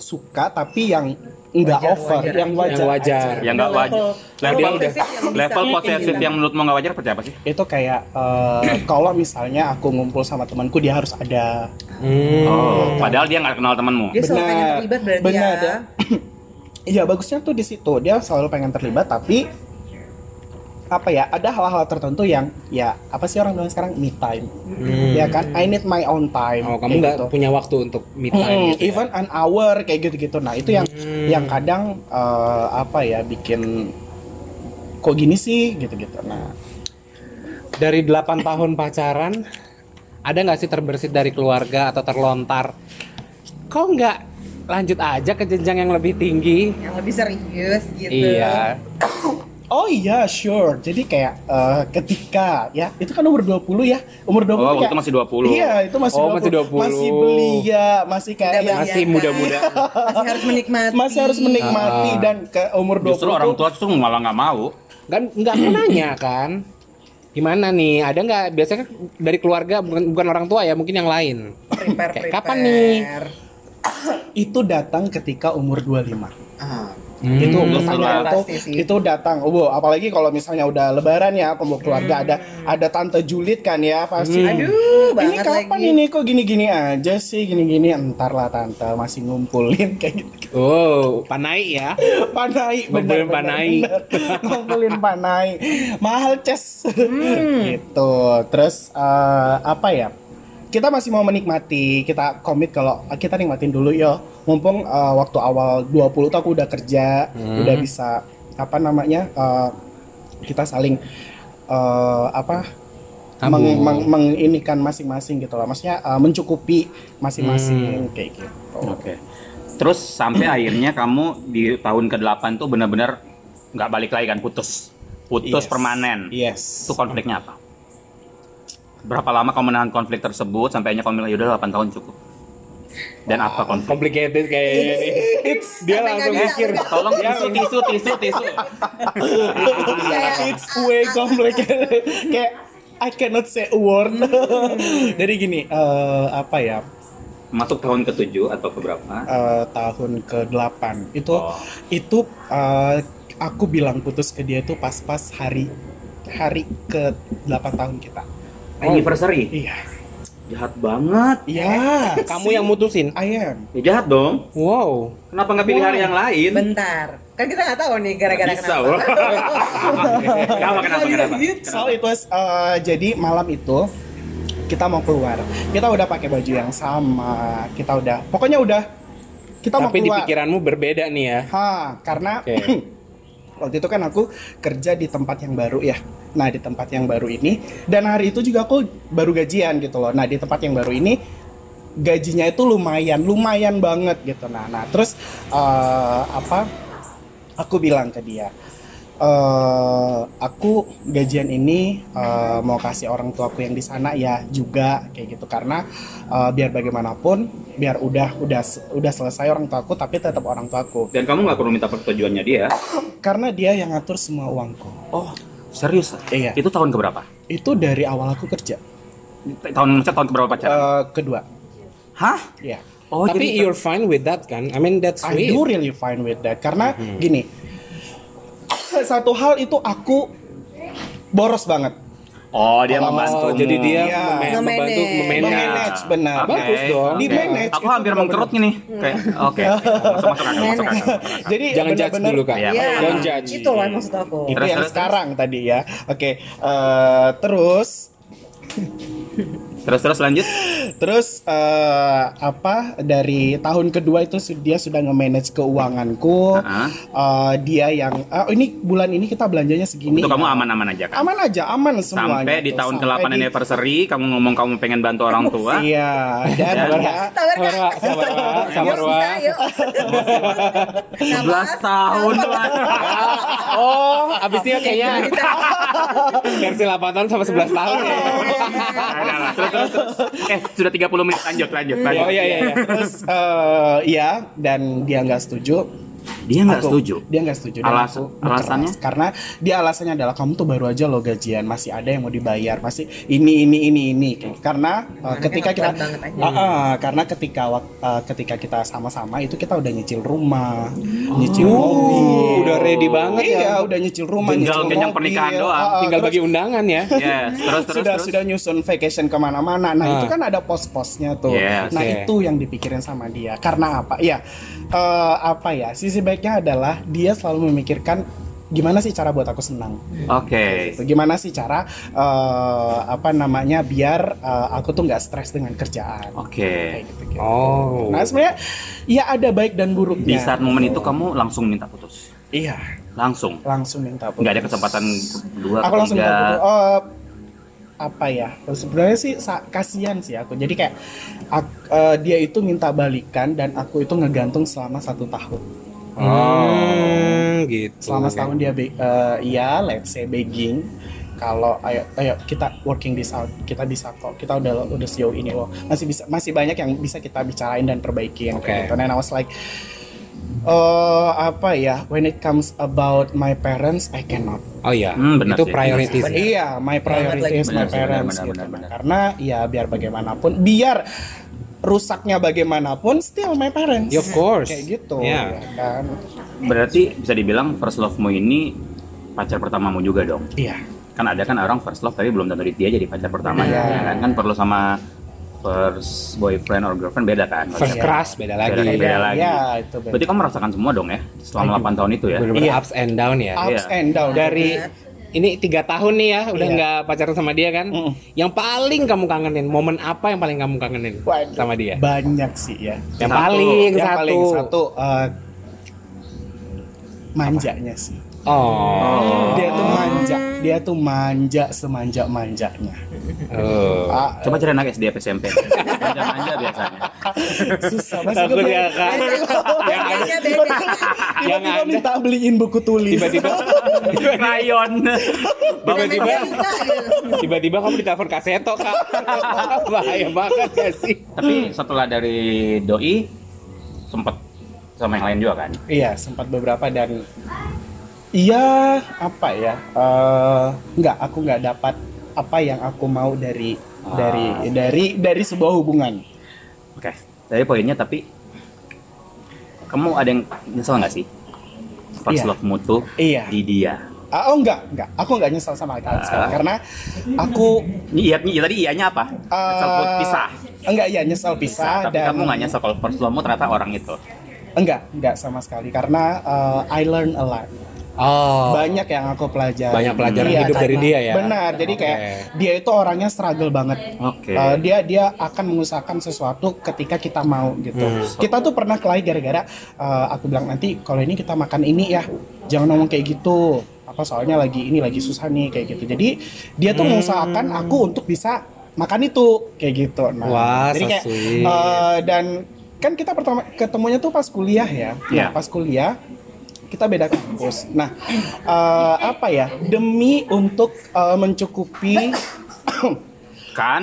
Speaker 4: suka tapi yang nggak
Speaker 1: Wajar,
Speaker 4: over
Speaker 1: wajar.
Speaker 4: yang wajar,
Speaker 3: Yang wajar.
Speaker 4: aja.
Speaker 2: Yang nggak wajar. Level
Speaker 1: Level posesif yang bisa. gitu.
Speaker 2: level posesif yang menurutmu nggak wajar percaya apa sih?
Speaker 4: itu kayak eh, kalau misalnya aku ngumpul sama temanku dia harus ada
Speaker 3: Hmm.
Speaker 2: Oh, padahal dia nggak kenal temanmu.
Speaker 1: Dia selalu pengen
Speaker 4: Benar.
Speaker 1: terlibat berarti
Speaker 4: Benar,
Speaker 1: ya.
Speaker 4: ya. iya bagusnya tuh di situ dia selalu pengen terlibat tapi apa ya ada hal-hal tertentu yang ya apa sih orang bilang sekarang me time
Speaker 3: Hmm.
Speaker 4: ya kan I need my own time
Speaker 3: Oh, kamu
Speaker 4: kayak
Speaker 3: nggak
Speaker 4: gitu.
Speaker 3: punya waktu untuk me time
Speaker 4: Mm,
Speaker 3: gitu ya?
Speaker 4: even an hour kayak gitu-gitu nah itu yang
Speaker 3: Hmm.
Speaker 4: yang kadang eh, apa ya bikin kok gini sih gitu-gitu nah
Speaker 3: dari 8 tahun pacaran ada nggak sih terbersit dari keluarga atau terlontar kok nggak lanjut aja ke jenjang yang lebih tinggi
Speaker 1: Yang lebih serius gitu.
Speaker 3: iya
Speaker 4: Oh iya, sure. Jadi kayak eh, ketika ya, itu kan umur 20 ya. Umur 20
Speaker 2: Oh, waktu
Speaker 4: kayak,
Speaker 2: itu masih 20.
Speaker 4: Iya, itu masih
Speaker 3: Oh, masih 20.
Speaker 4: Masih belia, masih kayak
Speaker 1: Udah
Speaker 4: ya,
Speaker 1: belia.
Speaker 3: masih muda-muda
Speaker 1: Masih harus menikmati.
Speaker 4: masih harus menikmati
Speaker 3: Ah.
Speaker 4: dan ke umur 20
Speaker 2: Justru orang tua tuh malah nggak mau.
Speaker 3: kan nggak aku nanya kan gimana nih ada nggak biasanya kan dari keluarga bukan, bukan orang tua ya mungkin yang lain
Speaker 1: Prepare,
Speaker 3: Kayak
Speaker 1: prepare.
Speaker 3: kapan nih?
Speaker 4: itu datang ketika umur 25.
Speaker 1: Ah,
Speaker 4: Itu
Speaker 3: Hmm.
Speaker 4: umur
Speaker 2: Betul
Speaker 4: pacaran
Speaker 1: lah.
Speaker 4: tuh
Speaker 1: Pasti sih.
Speaker 4: itu datang. Oh, wow, apalagi kalau misalnya udah lebaran ya, kumpul keluarga ada ada tante Julit kan ya, pasti.
Speaker 1: Hmm. Aduh, banget
Speaker 4: Ini kapan
Speaker 1: lagi.
Speaker 4: ini kok gini-gini aja sih gini-gini entar lah tante masih ngumpulin kayak gitu
Speaker 3: oh panai ya
Speaker 4: panai
Speaker 3: Ngumpulin
Speaker 4: bener,
Speaker 3: panai.
Speaker 4: bener, bener. ngumpulin panai mahal ces
Speaker 3: Hmm.
Speaker 4: gitu terus eh, apa ya kita masih mau menikmati kita komit kalau eh, kita nikmatin dulu yo mumpung eh, waktu awal 20 tuh aku udah kerja
Speaker 3: Hmm.
Speaker 4: udah bisa apa namanya eh, kita saling eh, apa meng,
Speaker 3: Tabung.
Speaker 4: meng- menginikan masing-masing gitu lah maksudnya eh, mencukupi masing-masing
Speaker 3: Hmm.
Speaker 4: kayak gitu
Speaker 2: Oke. Terus sampai akhirnya kamu di tahun ke-8 tuh benar-benar nggak balik lagi kan putus. Putus
Speaker 4: Yes.
Speaker 2: permanen.
Speaker 4: yes
Speaker 2: Itu konfliknya apa? Berapa lama kamu menahan konflik tersebut sampai akhirnya kamu bilang yaudah 8 tahun cukup. Dan apa konflik?
Speaker 3: complicated kayaknya nih dia
Speaker 1: Iya. Sampai
Speaker 3: langsung
Speaker 1: nggak bisa.
Speaker 3: mikir
Speaker 2: Tolong tisu, tisu, tisu, tisu.
Speaker 1: Kayak
Speaker 4: It's way complicated. Kayak I cannot say a word. Jadi gini, eh, apa ya?
Speaker 2: Masuk tahun ke-7 atau ke berapa?
Speaker 4: eh, tahun ke-8 itu
Speaker 2: Oh.
Speaker 4: itu eh, aku bilang putus ke dia itu pas-pas hari hari ke-8 tahun kita.
Speaker 2: Anniversary.
Speaker 4: Iya.
Speaker 2: Jahat banget.
Speaker 4: Iya.
Speaker 3: kamu yang mutusin
Speaker 4: I am.
Speaker 2: Ya, jahat dong.
Speaker 3: wow
Speaker 2: Kenapa nggak pilih hari yang lain?
Speaker 1: Bentar. Kan kita nggak tahu nih gara-gara
Speaker 2: Bisa,
Speaker 1: kenapa.
Speaker 2: wah. kenapa, kenapa, kenapa?
Speaker 4: So it was eh, jadi malam itu kita mau keluar. Kita udah pakai baju yang sama. Kita udah pokoknya udah kita mau
Speaker 3: tapi di
Speaker 4: keluar.
Speaker 3: pikiranmu berbeda nih ya
Speaker 4: Ha, karena
Speaker 3: Oke.
Speaker 4: waktu itu kan aku kerja di tempat yang baru ya. Nah, di tempat yang baru ini dan hari itu juga aku baru gajian gitu loh. Nah, di tempat yang baru ini gajinya itu lumayan, lumayan banget gitu. Nah, nah terus eh, apa? Aku bilang ke dia, eh aku gajian ini eh, mau kasih orang tuaku yang di sana ya juga kayak gitu karena eh, biar bagaimanapun biar udah udah udah selesai orang tuaku tapi tetap orang tuaku
Speaker 2: Dan kamu nggak perlu minta persetujuannya dia.
Speaker 4: karena dia yang ngatur semua uangku.
Speaker 2: Oh, serius?
Speaker 4: Iya.
Speaker 2: Itu tahun keberapa?
Speaker 4: Itu dari awal aku kerja.
Speaker 2: Tahun maksudnya tahun keberapa pacaran?
Speaker 4: Eh, kedua.
Speaker 2: Hah?
Speaker 4: Ya.
Speaker 2: Oh,
Speaker 3: tapi you're fine with that kan I mean that's
Speaker 4: I do
Speaker 3: sweet
Speaker 4: really fine with that karena gini. Satu hal itu aku boros banget.
Speaker 2: Oh, dia
Speaker 4: Oh,
Speaker 2: membantu. Iya.
Speaker 3: jadi dia
Speaker 4: Iya.
Speaker 3: mem- membantu
Speaker 1: Memanage.
Speaker 3: memanage.
Speaker 4: Manage, benar.
Speaker 3: Bagus dong.
Speaker 4: Di manage
Speaker 2: Aku
Speaker 4: itu Hmm.
Speaker 2: hampir
Speaker 4: benar-benar.
Speaker 2: mengkerut nih. Kayak oke. Masuk masuk akal, masuk akal. masuk akal.
Speaker 4: Jadi
Speaker 3: Jangan judge
Speaker 4: benar-benar-
Speaker 3: dulu kak.
Speaker 2: Iya.
Speaker 1: Iya,
Speaker 3: Don't judge.
Speaker 1: itu loh yang maksud aku.
Speaker 4: Itu
Speaker 2: Terus,
Speaker 4: yang
Speaker 2: terus,
Speaker 4: sekarang tadi ya. Oke, eh, terus
Speaker 2: Terus terus lanjut.
Speaker 4: terus eh, apa dari tahun kedua itu su- dia sudah nge-manage keuanganku.
Speaker 2: Heeh.
Speaker 4: Eh, dia yang ah, ini bulan ini kita belanjanya segini.
Speaker 2: Itu kamu
Speaker 4: ya.
Speaker 2: aman-aman aja kan?
Speaker 4: Aman aja, aman semuanya.
Speaker 2: Sampai di
Speaker 4: tuh.
Speaker 2: tahun ya,
Speaker 4: Sampai
Speaker 2: ke-8
Speaker 4: di-
Speaker 2: anniversary kamu ngomong kamu pengen bantu orang tua.
Speaker 4: Iya, dan
Speaker 2: Dan-
Speaker 4: ya,
Speaker 1: Sabar
Speaker 3: Sabar
Speaker 1: kak.
Speaker 3: Wak, sabar Wak, sabar
Speaker 1: Yuk,
Speaker 3: Wak.
Speaker 1: bisa, yuk. Sabar.
Speaker 2: 11 tahun lah.
Speaker 3: Oh, abisnya
Speaker 2: Iya.
Speaker 3: kayaknya
Speaker 1: gitu, Iya.
Speaker 3: versi 8 tahun sama 11 tahun ya.
Speaker 2: Ada lah. Terus terus terus. Eh, sudah 30 menit lanjut lanjut lanjut.
Speaker 3: Oh iya iya iya.
Speaker 4: terus eh, iya dan dia nggak setuju.
Speaker 2: Dia nggak
Speaker 4: Aku-
Speaker 2: setuju.
Speaker 4: Dia nggak setuju. dan
Speaker 2: Alas-
Speaker 4: aku
Speaker 2: alasannya?
Speaker 4: berkeras. karena dia alasannya adalah kamu tuh baru aja lo gajian, masih ada yang mau dibayar, masih ini ini ini ini. Karena eh,
Speaker 1: Anaknya
Speaker 4: ketika kita
Speaker 1: nggak kuat banget aja.
Speaker 4: Ah, ah, karena ketika wak- eh, ketika kita sama-sama itu kita udah nyicil rumah,
Speaker 2: Oh.
Speaker 4: nyicil mobil.
Speaker 3: Udah ready banget ya.
Speaker 4: Oh, Iya, udah nyicil rumah,
Speaker 2: Tinggal
Speaker 4: nyicil
Speaker 2: kenyang
Speaker 4: mobil.
Speaker 2: pernikahan doang.
Speaker 4: Ah, ah,
Speaker 3: Tinggal
Speaker 4: terus-
Speaker 3: bagi undangan ya.
Speaker 2: Yes, Iya, terus terus
Speaker 4: sudah
Speaker 2: terus.
Speaker 4: sudah nyusun vacation kemana-mana. Nah
Speaker 3: Ah.
Speaker 4: itu kan ada pos-posnya tuh.
Speaker 2: Yes.
Speaker 4: Nah
Speaker 3: Oke.
Speaker 4: itu yang dipikirin sama dia. Karena apa? Ya eh, apa ya? Sisi baiknya adalah dia selalu memikirkan gimana sih cara buat aku senang.
Speaker 2: Oke.
Speaker 4: Gitu. Gimana sih cara eh, apa namanya biar eh, aku tuh nggak stres dengan kerjaan.
Speaker 2: Oke.
Speaker 4: Kayak gitu-gitu.
Speaker 3: Oh.
Speaker 4: Nah sebenarnya ya ada baik dan buruknya.
Speaker 2: Di saat momen itu kamu langsung minta putus.
Speaker 4: Iya
Speaker 2: Langsung.
Speaker 4: langsung minta putus.
Speaker 2: Nggak ada kesempatan dua
Speaker 4: aku langsung
Speaker 2: ketiga.
Speaker 4: bilang gitu, "Oh, apa ya sebenarnya sih sa- kasihan sih aku jadi kayak ak- eh, dia itu minta balikan dan aku itu ngegantung selama satu tahun
Speaker 3: Hmm, gitu.
Speaker 4: Oh, selama setahun dia be- eh, ya let's say begging kalau ayo ayo kita working this out kita bisa kok kita udah udah sejauh ini loh masih bisa masih banyak yang bisa kita bicarain dan perbaikin
Speaker 3: Oke.
Speaker 4: kayak gitu dan I was like Oh apa ya when it comes about my parents I cannot
Speaker 3: Oh iya.
Speaker 2: Hmm, benar
Speaker 3: itu
Speaker 2: sih.
Speaker 3: priorities. ya.
Speaker 4: Iya, my priority
Speaker 1: lagi.
Speaker 4: is
Speaker 2: Benar
Speaker 4: my
Speaker 2: sih,
Speaker 4: parents
Speaker 2: benar,
Speaker 4: gitu.
Speaker 2: benar, benar.
Speaker 4: Karena ya biar bagaimanapun, biar rusaknya bagaimanapun still my parents.
Speaker 3: Ya, of course.
Speaker 4: Kayak gitu.
Speaker 3: Iya.
Speaker 4: ya kan?
Speaker 2: Berarti bisa dibilang first love-mu ini pacar pertamamu juga dong.
Speaker 4: Iya.
Speaker 2: Kan ada kan orang first love tapi belum tentu dia jadi pacar pertamanya.
Speaker 4: Iya.
Speaker 2: ya Kan? kan perlu sama first boyfriend or girlfriend beda kan.
Speaker 3: First
Speaker 4: Iya.
Speaker 3: crush beda lagi.
Speaker 2: Beda lagi.
Speaker 4: Ya, itu benar.
Speaker 2: Berarti kamu merasakan semua dong ya selama
Speaker 4: Aduh.
Speaker 2: 8 tahun itu ya.
Speaker 3: Bener-bener
Speaker 4: Iya.
Speaker 3: ups and down ya.
Speaker 4: Ups
Speaker 2: Iya.
Speaker 4: and down.
Speaker 3: Dari ini tiga tahun nih ya, udah
Speaker 4: Iya.
Speaker 3: nggak pacaran sama dia kan?
Speaker 4: Mm.
Speaker 3: Yang paling kamu kangenin, momen apa yang paling kamu kangenin
Speaker 4: Waduh,
Speaker 3: sama dia?
Speaker 4: banyak sih
Speaker 3: Iya.
Speaker 4: ya.
Speaker 3: Yang
Speaker 2: Satu.
Speaker 3: paling
Speaker 4: Yang
Speaker 3: satu.
Speaker 4: paling satu eh, manjanya sih.
Speaker 3: Oh.
Speaker 4: Dia tuh manja, dia tuh manja semanja manjanya.
Speaker 3: Oh.
Speaker 2: Coba cari anak SD apa SMP. Manja-manja biasanya.
Speaker 4: susah Iya, banget.
Speaker 3: Takut ya kan? Yang ada-
Speaker 1: Bedanya beda.
Speaker 3: Yang
Speaker 4: iya, Tiba-tiba
Speaker 3: ada-
Speaker 4: minta beliin buku tulis.
Speaker 3: tiba-tiba
Speaker 2: Krayon.
Speaker 1: Beda
Speaker 3: tiba-tiba
Speaker 1: meja juga, gitu.
Speaker 3: tiba-tiba kamu ditelepon Kak Seto kak bahaya banget ya sih
Speaker 2: Tapi setelah dari doi sempet sama yang lain juga kan.
Speaker 4: Iya, sempat beberapa dan iya apa ya? Eh nggak, aku nggak dapat apa yang aku mau dari
Speaker 2: Ah.
Speaker 4: dari dari dari sebuah hubungan.
Speaker 2: Oke. Dari poinnya tapi kamu ada yang nyesel nggak sih? First
Speaker 4: Iya.
Speaker 2: love mu tuh
Speaker 4: Iya.
Speaker 2: di dia.
Speaker 4: Ah, Oh nggak, nggak. Aku nggak nyesal sama
Speaker 2: Ah.
Speaker 4: kalian sekali karena aku
Speaker 2: Ini iya, ini iya, tadi ianya apa?
Speaker 4: eh,
Speaker 2: Nyesel put- pisah.
Speaker 4: Enggak, ya nyesal pisah
Speaker 2: Tapi
Speaker 4: dan
Speaker 2: kamu nggak nyesel kalau first love mu ternyata orang itu.
Speaker 4: enggak, enggak sama sekali karena eh, I learn a lot.
Speaker 3: oh
Speaker 4: banyak yang aku pelajari
Speaker 3: Banyak pelajaran
Speaker 4: Iya,
Speaker 3: hidup dari
Speaker 4: karena-
Speaker 3: dia ya?
Speaker 4: benar jadi
Speaker 3: Oke.
Speaker 4: kayak dia itu orangnya struggle banget
Speaker 2: Oke.
Speaker 4: Eh, dia dia akan mengusahakan sesuatu ketika kita mau gitu
Speaker 3: Hmm.
Speaker 4: kita tuh pernah kelahi gara-gara eh, aku bilang nanti kalau ini kita makan ini ya jangan ngomong kayak gitu apa soalnya lagi ini lagi susah nih kayak gitu jadi dia tuh
Speaker 3: Hmm.
Speaker 4: mengusahakan aku untuk bisa makan itu kayak gitu nah
Speaker 3: Wah,
Speaker 4: jadi
Speaker 3: so
Speaker 4: kayak
Speaker 3: sweet.
Speaker 4: eh, dan kan kita pertama ketemunya tuh pas kuliah ya
Speaker 2: Iya.
Speaker 4: Nah, pas kuliah kita beda kampus. Nah, eh, apa ya? Demi untuk eh, mencukupi
Speaker 2: Kan?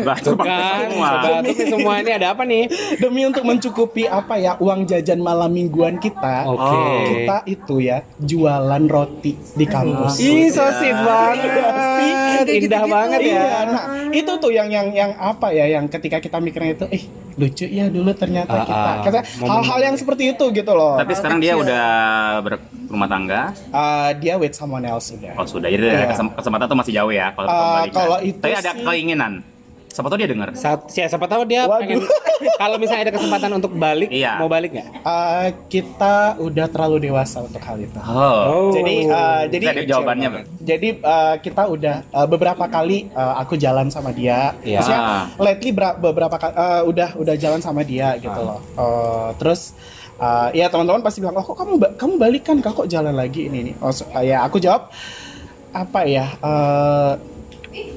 Speaker 2: Batu bangku
Speaker 3: kan
Speaker 2: semua.
Speaker 3: coba tuh nih semua ini ada apa nih
Speaker 4: demi untuk mencukupi apa ya? Uang jajan malam mingguan kita.
Speaker 3: oke
Speaker 4: Kita itu ya jualan roti di kampus.
Speaker 3: ih so sweet
Speaker 4: Iya, sih.
Speaker 3: banget indah
Speaker 1: gitu-gitu.
Speaker 3: banget ya
Speaker 4: Iya, nah itu tuh yang yang yang apa ya yang ketika kita mikirnya itu, eh lucu ya dulu ternyata
Speaker 3: Ah,
Speaker 4: kita.
Speaker 3: ah.
Speaker 4: Kata-
Speaker 3: Momen-
Speaker 4: hal-hal yang seperti itu gitu loh.
Speaker 2: Tapi sekarang dia udah ber- rumah tangga?
Speaker 4: Eh, dia wait someone else udah.
Speaker 2: Oh sudah, jadi dari
Speaker 4: Iya.
Speaker 2: kesem- kesempatan tuh masih jauh ya kalau
Speaker 4: Eh,
Speaker 2: pembalikan.
Speaker 4: kalau itu
Speaker 2: Tapi ada
Speaker 4: sih-
Speaker 2: keinginan. Siapa tahu dia dengar.
Speaker 3: Saat, ya, siapa tahu dia
Speaker 4: Waduh.
Speaker 3: pengen kalau misalnya ada kesempatan untuk balik,
Speaker 2: Iya.
Speaker 3: mau balik nggak?
Speaker 4: Eh, kita udah terlalu dewasa untuk hal itu.
Speaker 2: Oh,
Speaker 4: Jadi, eh, jadi
Speaker 2: Jadi jawabannya, Bang.
Speaker 4: Jadi eh, kita udah eh, beberapa kali eh, aku jalan sama dia.
Speaker 3: Iya.
Speaker 4: Maksudnya lately bera- beberapa kali eh, udah udah jalan sama dia gitu
Speaker 2: Ah.
Speaker 4: loh. Eh, terus eh, ya teman-teman pasti bilang, "Oh, kok kamu ba- kamu balikan Kak? kok jalan lagi ini ini?" Oh, so- eh, ya aku jawab apa ya? eh,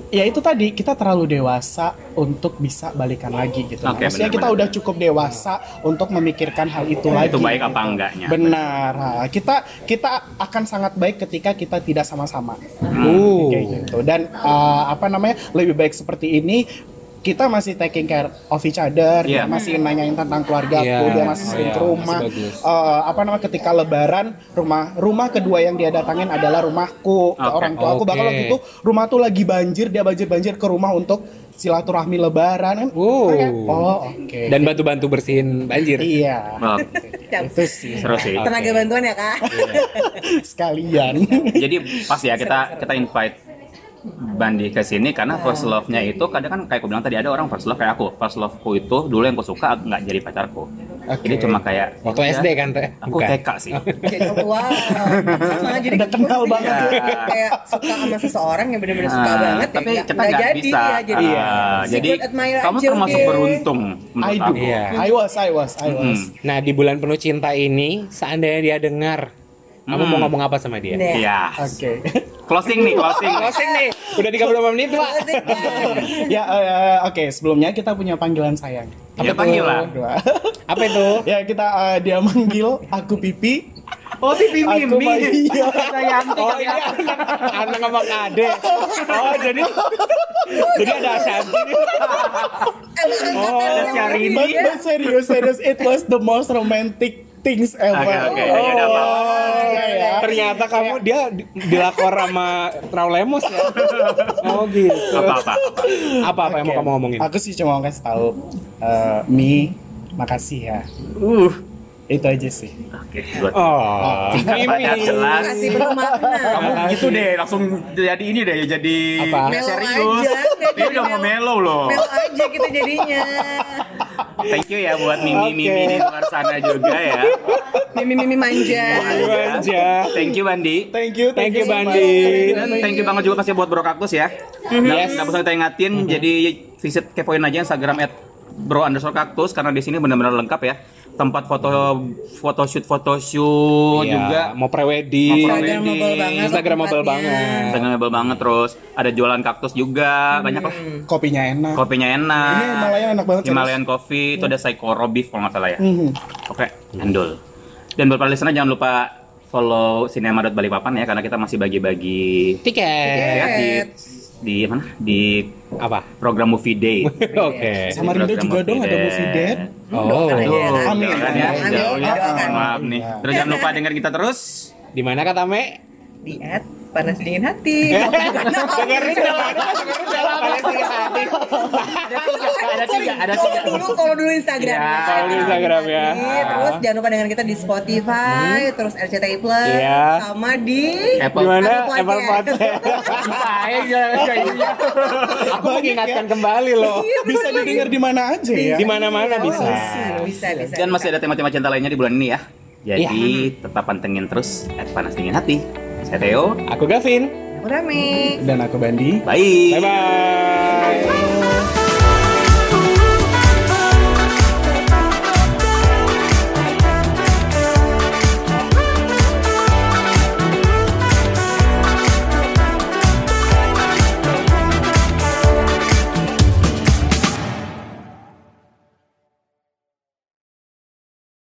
Speaker 4: ya itu tadi kita terlalu dewasa untuk bisa balikan lagi gitu.
Speaker 2: Oke,
Speaker 4: Maksudnya kita
Speaker 2: benar-benar.
Speaker 4: udah cukup dewasa untuk memikirkan hal itu lagi.
Speaker 2: itu baik
Speaker 4: gitu.
Speaker 2: apa enggaknya?
Speaker 4: Benar. Ha, Kita kita akan sangat baik ketika kita tidak sama-sama.
Speaker 2: Hmm.
Speaker 3: Uh.
Speaker 4: Kayak gitu. Dan eh, apa namanya? lebih baik seperti ini kita masih taking care of each other, dia
Speaker 2: Iya.
Speaker 4: masih nanyain tentang keluarga
Speaker 3: Iya.
Speaker 4: aku, dia masih
Speaker 3: Oh,
Speaker 4: sering
Speaker 3: iya,
Speaker 4: ke rumah.
Speaker 3: masih bagus.
Speaker 4: Eh, apa namanya ketika lebaran rumah rumah kedua yang dia datangin adalah rumahku ke
Speaker 2: Oke.
Speaker 4: orang tua aku bakal
Speaker 3: Oke.
Speaker 4: waktu itu rumah tuh lagi banjir dia banjir banjir ke rumah untuk silaturahmi lebaran kan
Speaker 3: Wow.
Speaker 4: Kayak, oh oke
Speaker 3: Uh. Dan bantu-bantu bersihin banjir.
Speaker 4: iya
Speaker 2: Oh,
Speaker 4: itu sih
Speaker 2: seru sih.
Speaker 1: Tenaga bantuan ya kak.
Speaker 4: sekalian
Speaker 2: Jadi pas ya kita kita invite Bandi ke sini
Speaker 4: Iya.
Speaker 2: karena first love-nya itu kadang kan kayak aku bilang tadi ada orang first love kayak aku first love-ku itu dulu yang aku suka nggak jadi pacarku jadi cuma kayak
Speaker 3: Waktu
Speaker 2: ya,
Speaker 3: SD kan, Teh?
Speaker 2: aku
Speaker 3: Bukan.
Speaker 2: TK sih
Speaker 1: Jadi gitu, wow. Sama jadi
Speaker 4: Udah kenal
Speaker 1: gitu sih.
Speaker 4: banget
Speaker 2: ya.
Speaker 1: Kayak suka sama seseorang yang benar-benar suka
Speaker 2: Ah,
Speaker 1: banget. ya,
Speaker 2: tapi
Speaker 1: nggak-
Speaker 2: kita
Speaker 1: nggak
Speaker 2: nggak
Speaker 1: jadi
Speaker 2: bisa
Speaker 1: ya, jadi
Speaker 2: Ah, jadi
Speaker 1: secret admirer
Speaker 2: kamu
Speaker 1: aja
Speaker 2: termasuk
Speaker 1: udah.
Speaker 2: beruntung
Speaker 4: I
Speaker 2: menurut
Speaker 4: do.
Speaker 2: aku
Speaker 3: Iya.
Speaker 4: I was, I was, I was.
Speaker 2: Mm.
Speaker 3: Nah, di bulan penuh cinta ini, seandainya dia dengar, kamu
Speaker 2: Hmm.
Speaker 3: mau ngomong apa sama dia?
Speaker 1: Nih.
Speaker 2: Iya.
Speaker 4: Oke.
Speaker 2: Closing nih, closing.
Speaker 3: Closing nih, udah 35 menit, Pak.
Speaker 1: Asik, Kak.
Speaker 4: ya, eh, oke. Sebelumnya kita punya panggilan sayang.
Speaker 2: Dia
Speaker 3: tuh?
Speaker 2: panggilan.
Speaker 4: Dua.
Speaker 3: Apa itu?
Speaker 4: ya kita eh, dia manggil aku pipi.
Speaker 2: Oh, pipi
Speaker 4: Aku Mimi.
Speaker 2: Dayanti.
Speaker 3: Oh ini anak anak sama kade. Oh jadi jadi ada Ashanti nih.
Speaker 1: Emang angkatannya
Speaker 2: Oh, ada Syahrini.
Speaker 1: begini
Speaker 4: But,
Speaker 1: ya?
Speaker 4: but serius, serius, it was the most romantic things ever.
Speaker 2: Oke, oke.
Speaker 4: Oh,
Speaker 2: Ya, udah, Pak.
Speaker 4: iya, ya.
Speaker 3: Ternyata kamu dia di- dilakor sama Raul Lemos ya. Oh gitu.
Speaker 2: Apa apa? apa.
Speaker 3: Apa apa yang mau
Speaker 4: Oke.
Speaker 3: kamu ngomongin?
Speaker 4: Aku sih cuma mau kasih tahu, eh, Mi, makasih ya.
Speaker 2: Uh.
Speaker 4: Itu aja sih. Ah,
Speaker 2: Oke, buat
Speaker 3: Oh,
Speaker 2: Singkat, padat, jelas.
Speaker 1: Kasih bermakna.
Speaker 2: Kamu gitu deh, langsung jadi ini deh, jadi
Speaker 3: Apa?
Speaker 2: nggak
Speaker 1: Melo
Speaker 2: serius.
Speaker 1: aja, nggak
Speaker 2: Dia
Speaker 1: jadi
Speaker 2: udah
Speaker 1: melo.
Speaker 2: mau melo loh.
Speaker 1: Mel aja kita jadinya.
Speaker 2: Thank you ya buat Mimi
Speaker 3: Oke.
Speaker 2: Mimi di luar sana juga ya.
Speaker 1: Mimi-mimi manja.
Speaker 3: Manja.
Speaker 2: Thank you Bandi.
Speaker 4: Thank you,
Speaker 3: Thank you
Speaker 4: so much.
Speaker 3: Bandi.
Speaker 2: Dan thank you banget juga kasih buat Bro Kaktus ya. Nggak nggak usah kita ingatin, jadi visit kepoin aja Instagram at bro underscore kaktus karena di sini benar-benar lengkap ya tempat foto photoshoot photoshoot Oh,
Speaker 3: Iya,
Speaker 2: juga
Speaker 3: mau
Speaker 2: Mau
Speaker 3: pre-wedding.
Speaker 1: Instagram mobile
Speaker 2: Ini
Speaker 1: banget.
Speaker 3: Instagramable
Speaker 1: tempatnya.
Speaker 3: banget.
Speaker 2: Instagramable banget terus ada jualan kaktus juga banyak lah
Speaker 4: Kopinya enak.
Speaker 2: kopinya enak
Speaker 4: Hmm. Ini Himalayan enak banget, Hmm.
Speaker 2: Himalayan coffee itu ada Saikoro beef kalau nggak salah ya
Speaker 4: Mhm.
Speaker 2: oke handul dan buat para listener jangan lupa follow Sinema Balikpapan ya karena kita masih bagi-bagi
Speaker 3: Tiket.
Speaker 2: ya di di mana di
Speaker 3: Apa?
Speaker 2: program movie day
Speaker 3: Oke.
Speaker 4: Sama Rindo
Speaker 2: Program
Speaker 4: juga dong ada movie day.
Speaker 3: Oh,
Speaker 2: Aduh,
Speaker 4: Amin,
Speaker 2: jangan ya,
Speaker 4: amin,
Speaker 2: jauh ya.
Speaker 1: doakan.
Speaker 2: Maaf nih. Terus jangan lupa dengar kita terus.
Speaker 3: di mana kata Me?
Speaker 1: Di at panas dingin hati.
Speaker 3: Dengerin dalam, dengerin dalam.
Speaker 2: Ada tiga, ada tiga.
Speaker 1: Kalau dulu, kalau dulu Instagram.
Speaker 2: Ya,
Speaker 1: ya.
Speaker 3: Kalau di Instagram ya.
Speaker 1: Nih, Terus jangan lupa dengan kita di Spotify, terus RCTI Plus,
Speaker 3: Iya.
Speaker 1: sama di
Speaker 2: Apple.
Speaker 3: Di mana?
Speaker 1: Apple
Speaker 3: Apple
Speaker 1: Podcast.
Speaker 3: Podcast.
Speaker 2: Saya kayaknya.
Speaker 3: Aku mengingatkan kembali loh.
Speaker 2: Iya,
Speaker 4: Bisa didengar di mana aja ya.
Speaker 3: Di mana-mana bisa.
Speaker 1: Oh, iya. bisa, bisa.
Speaker 2: Dan masih ada tema-tema cinta lainnya di bulan ini ya. Jadi tetap pantengin terus at panas dingin hati. Saya Theo.
Speaker 3: Aku Gavin.
Speaker 1: Aku Rame.
Speaker 4: Dan aku Bandi.
Speaker 2: Iya. Bye.
Speaker 3: Bye bye.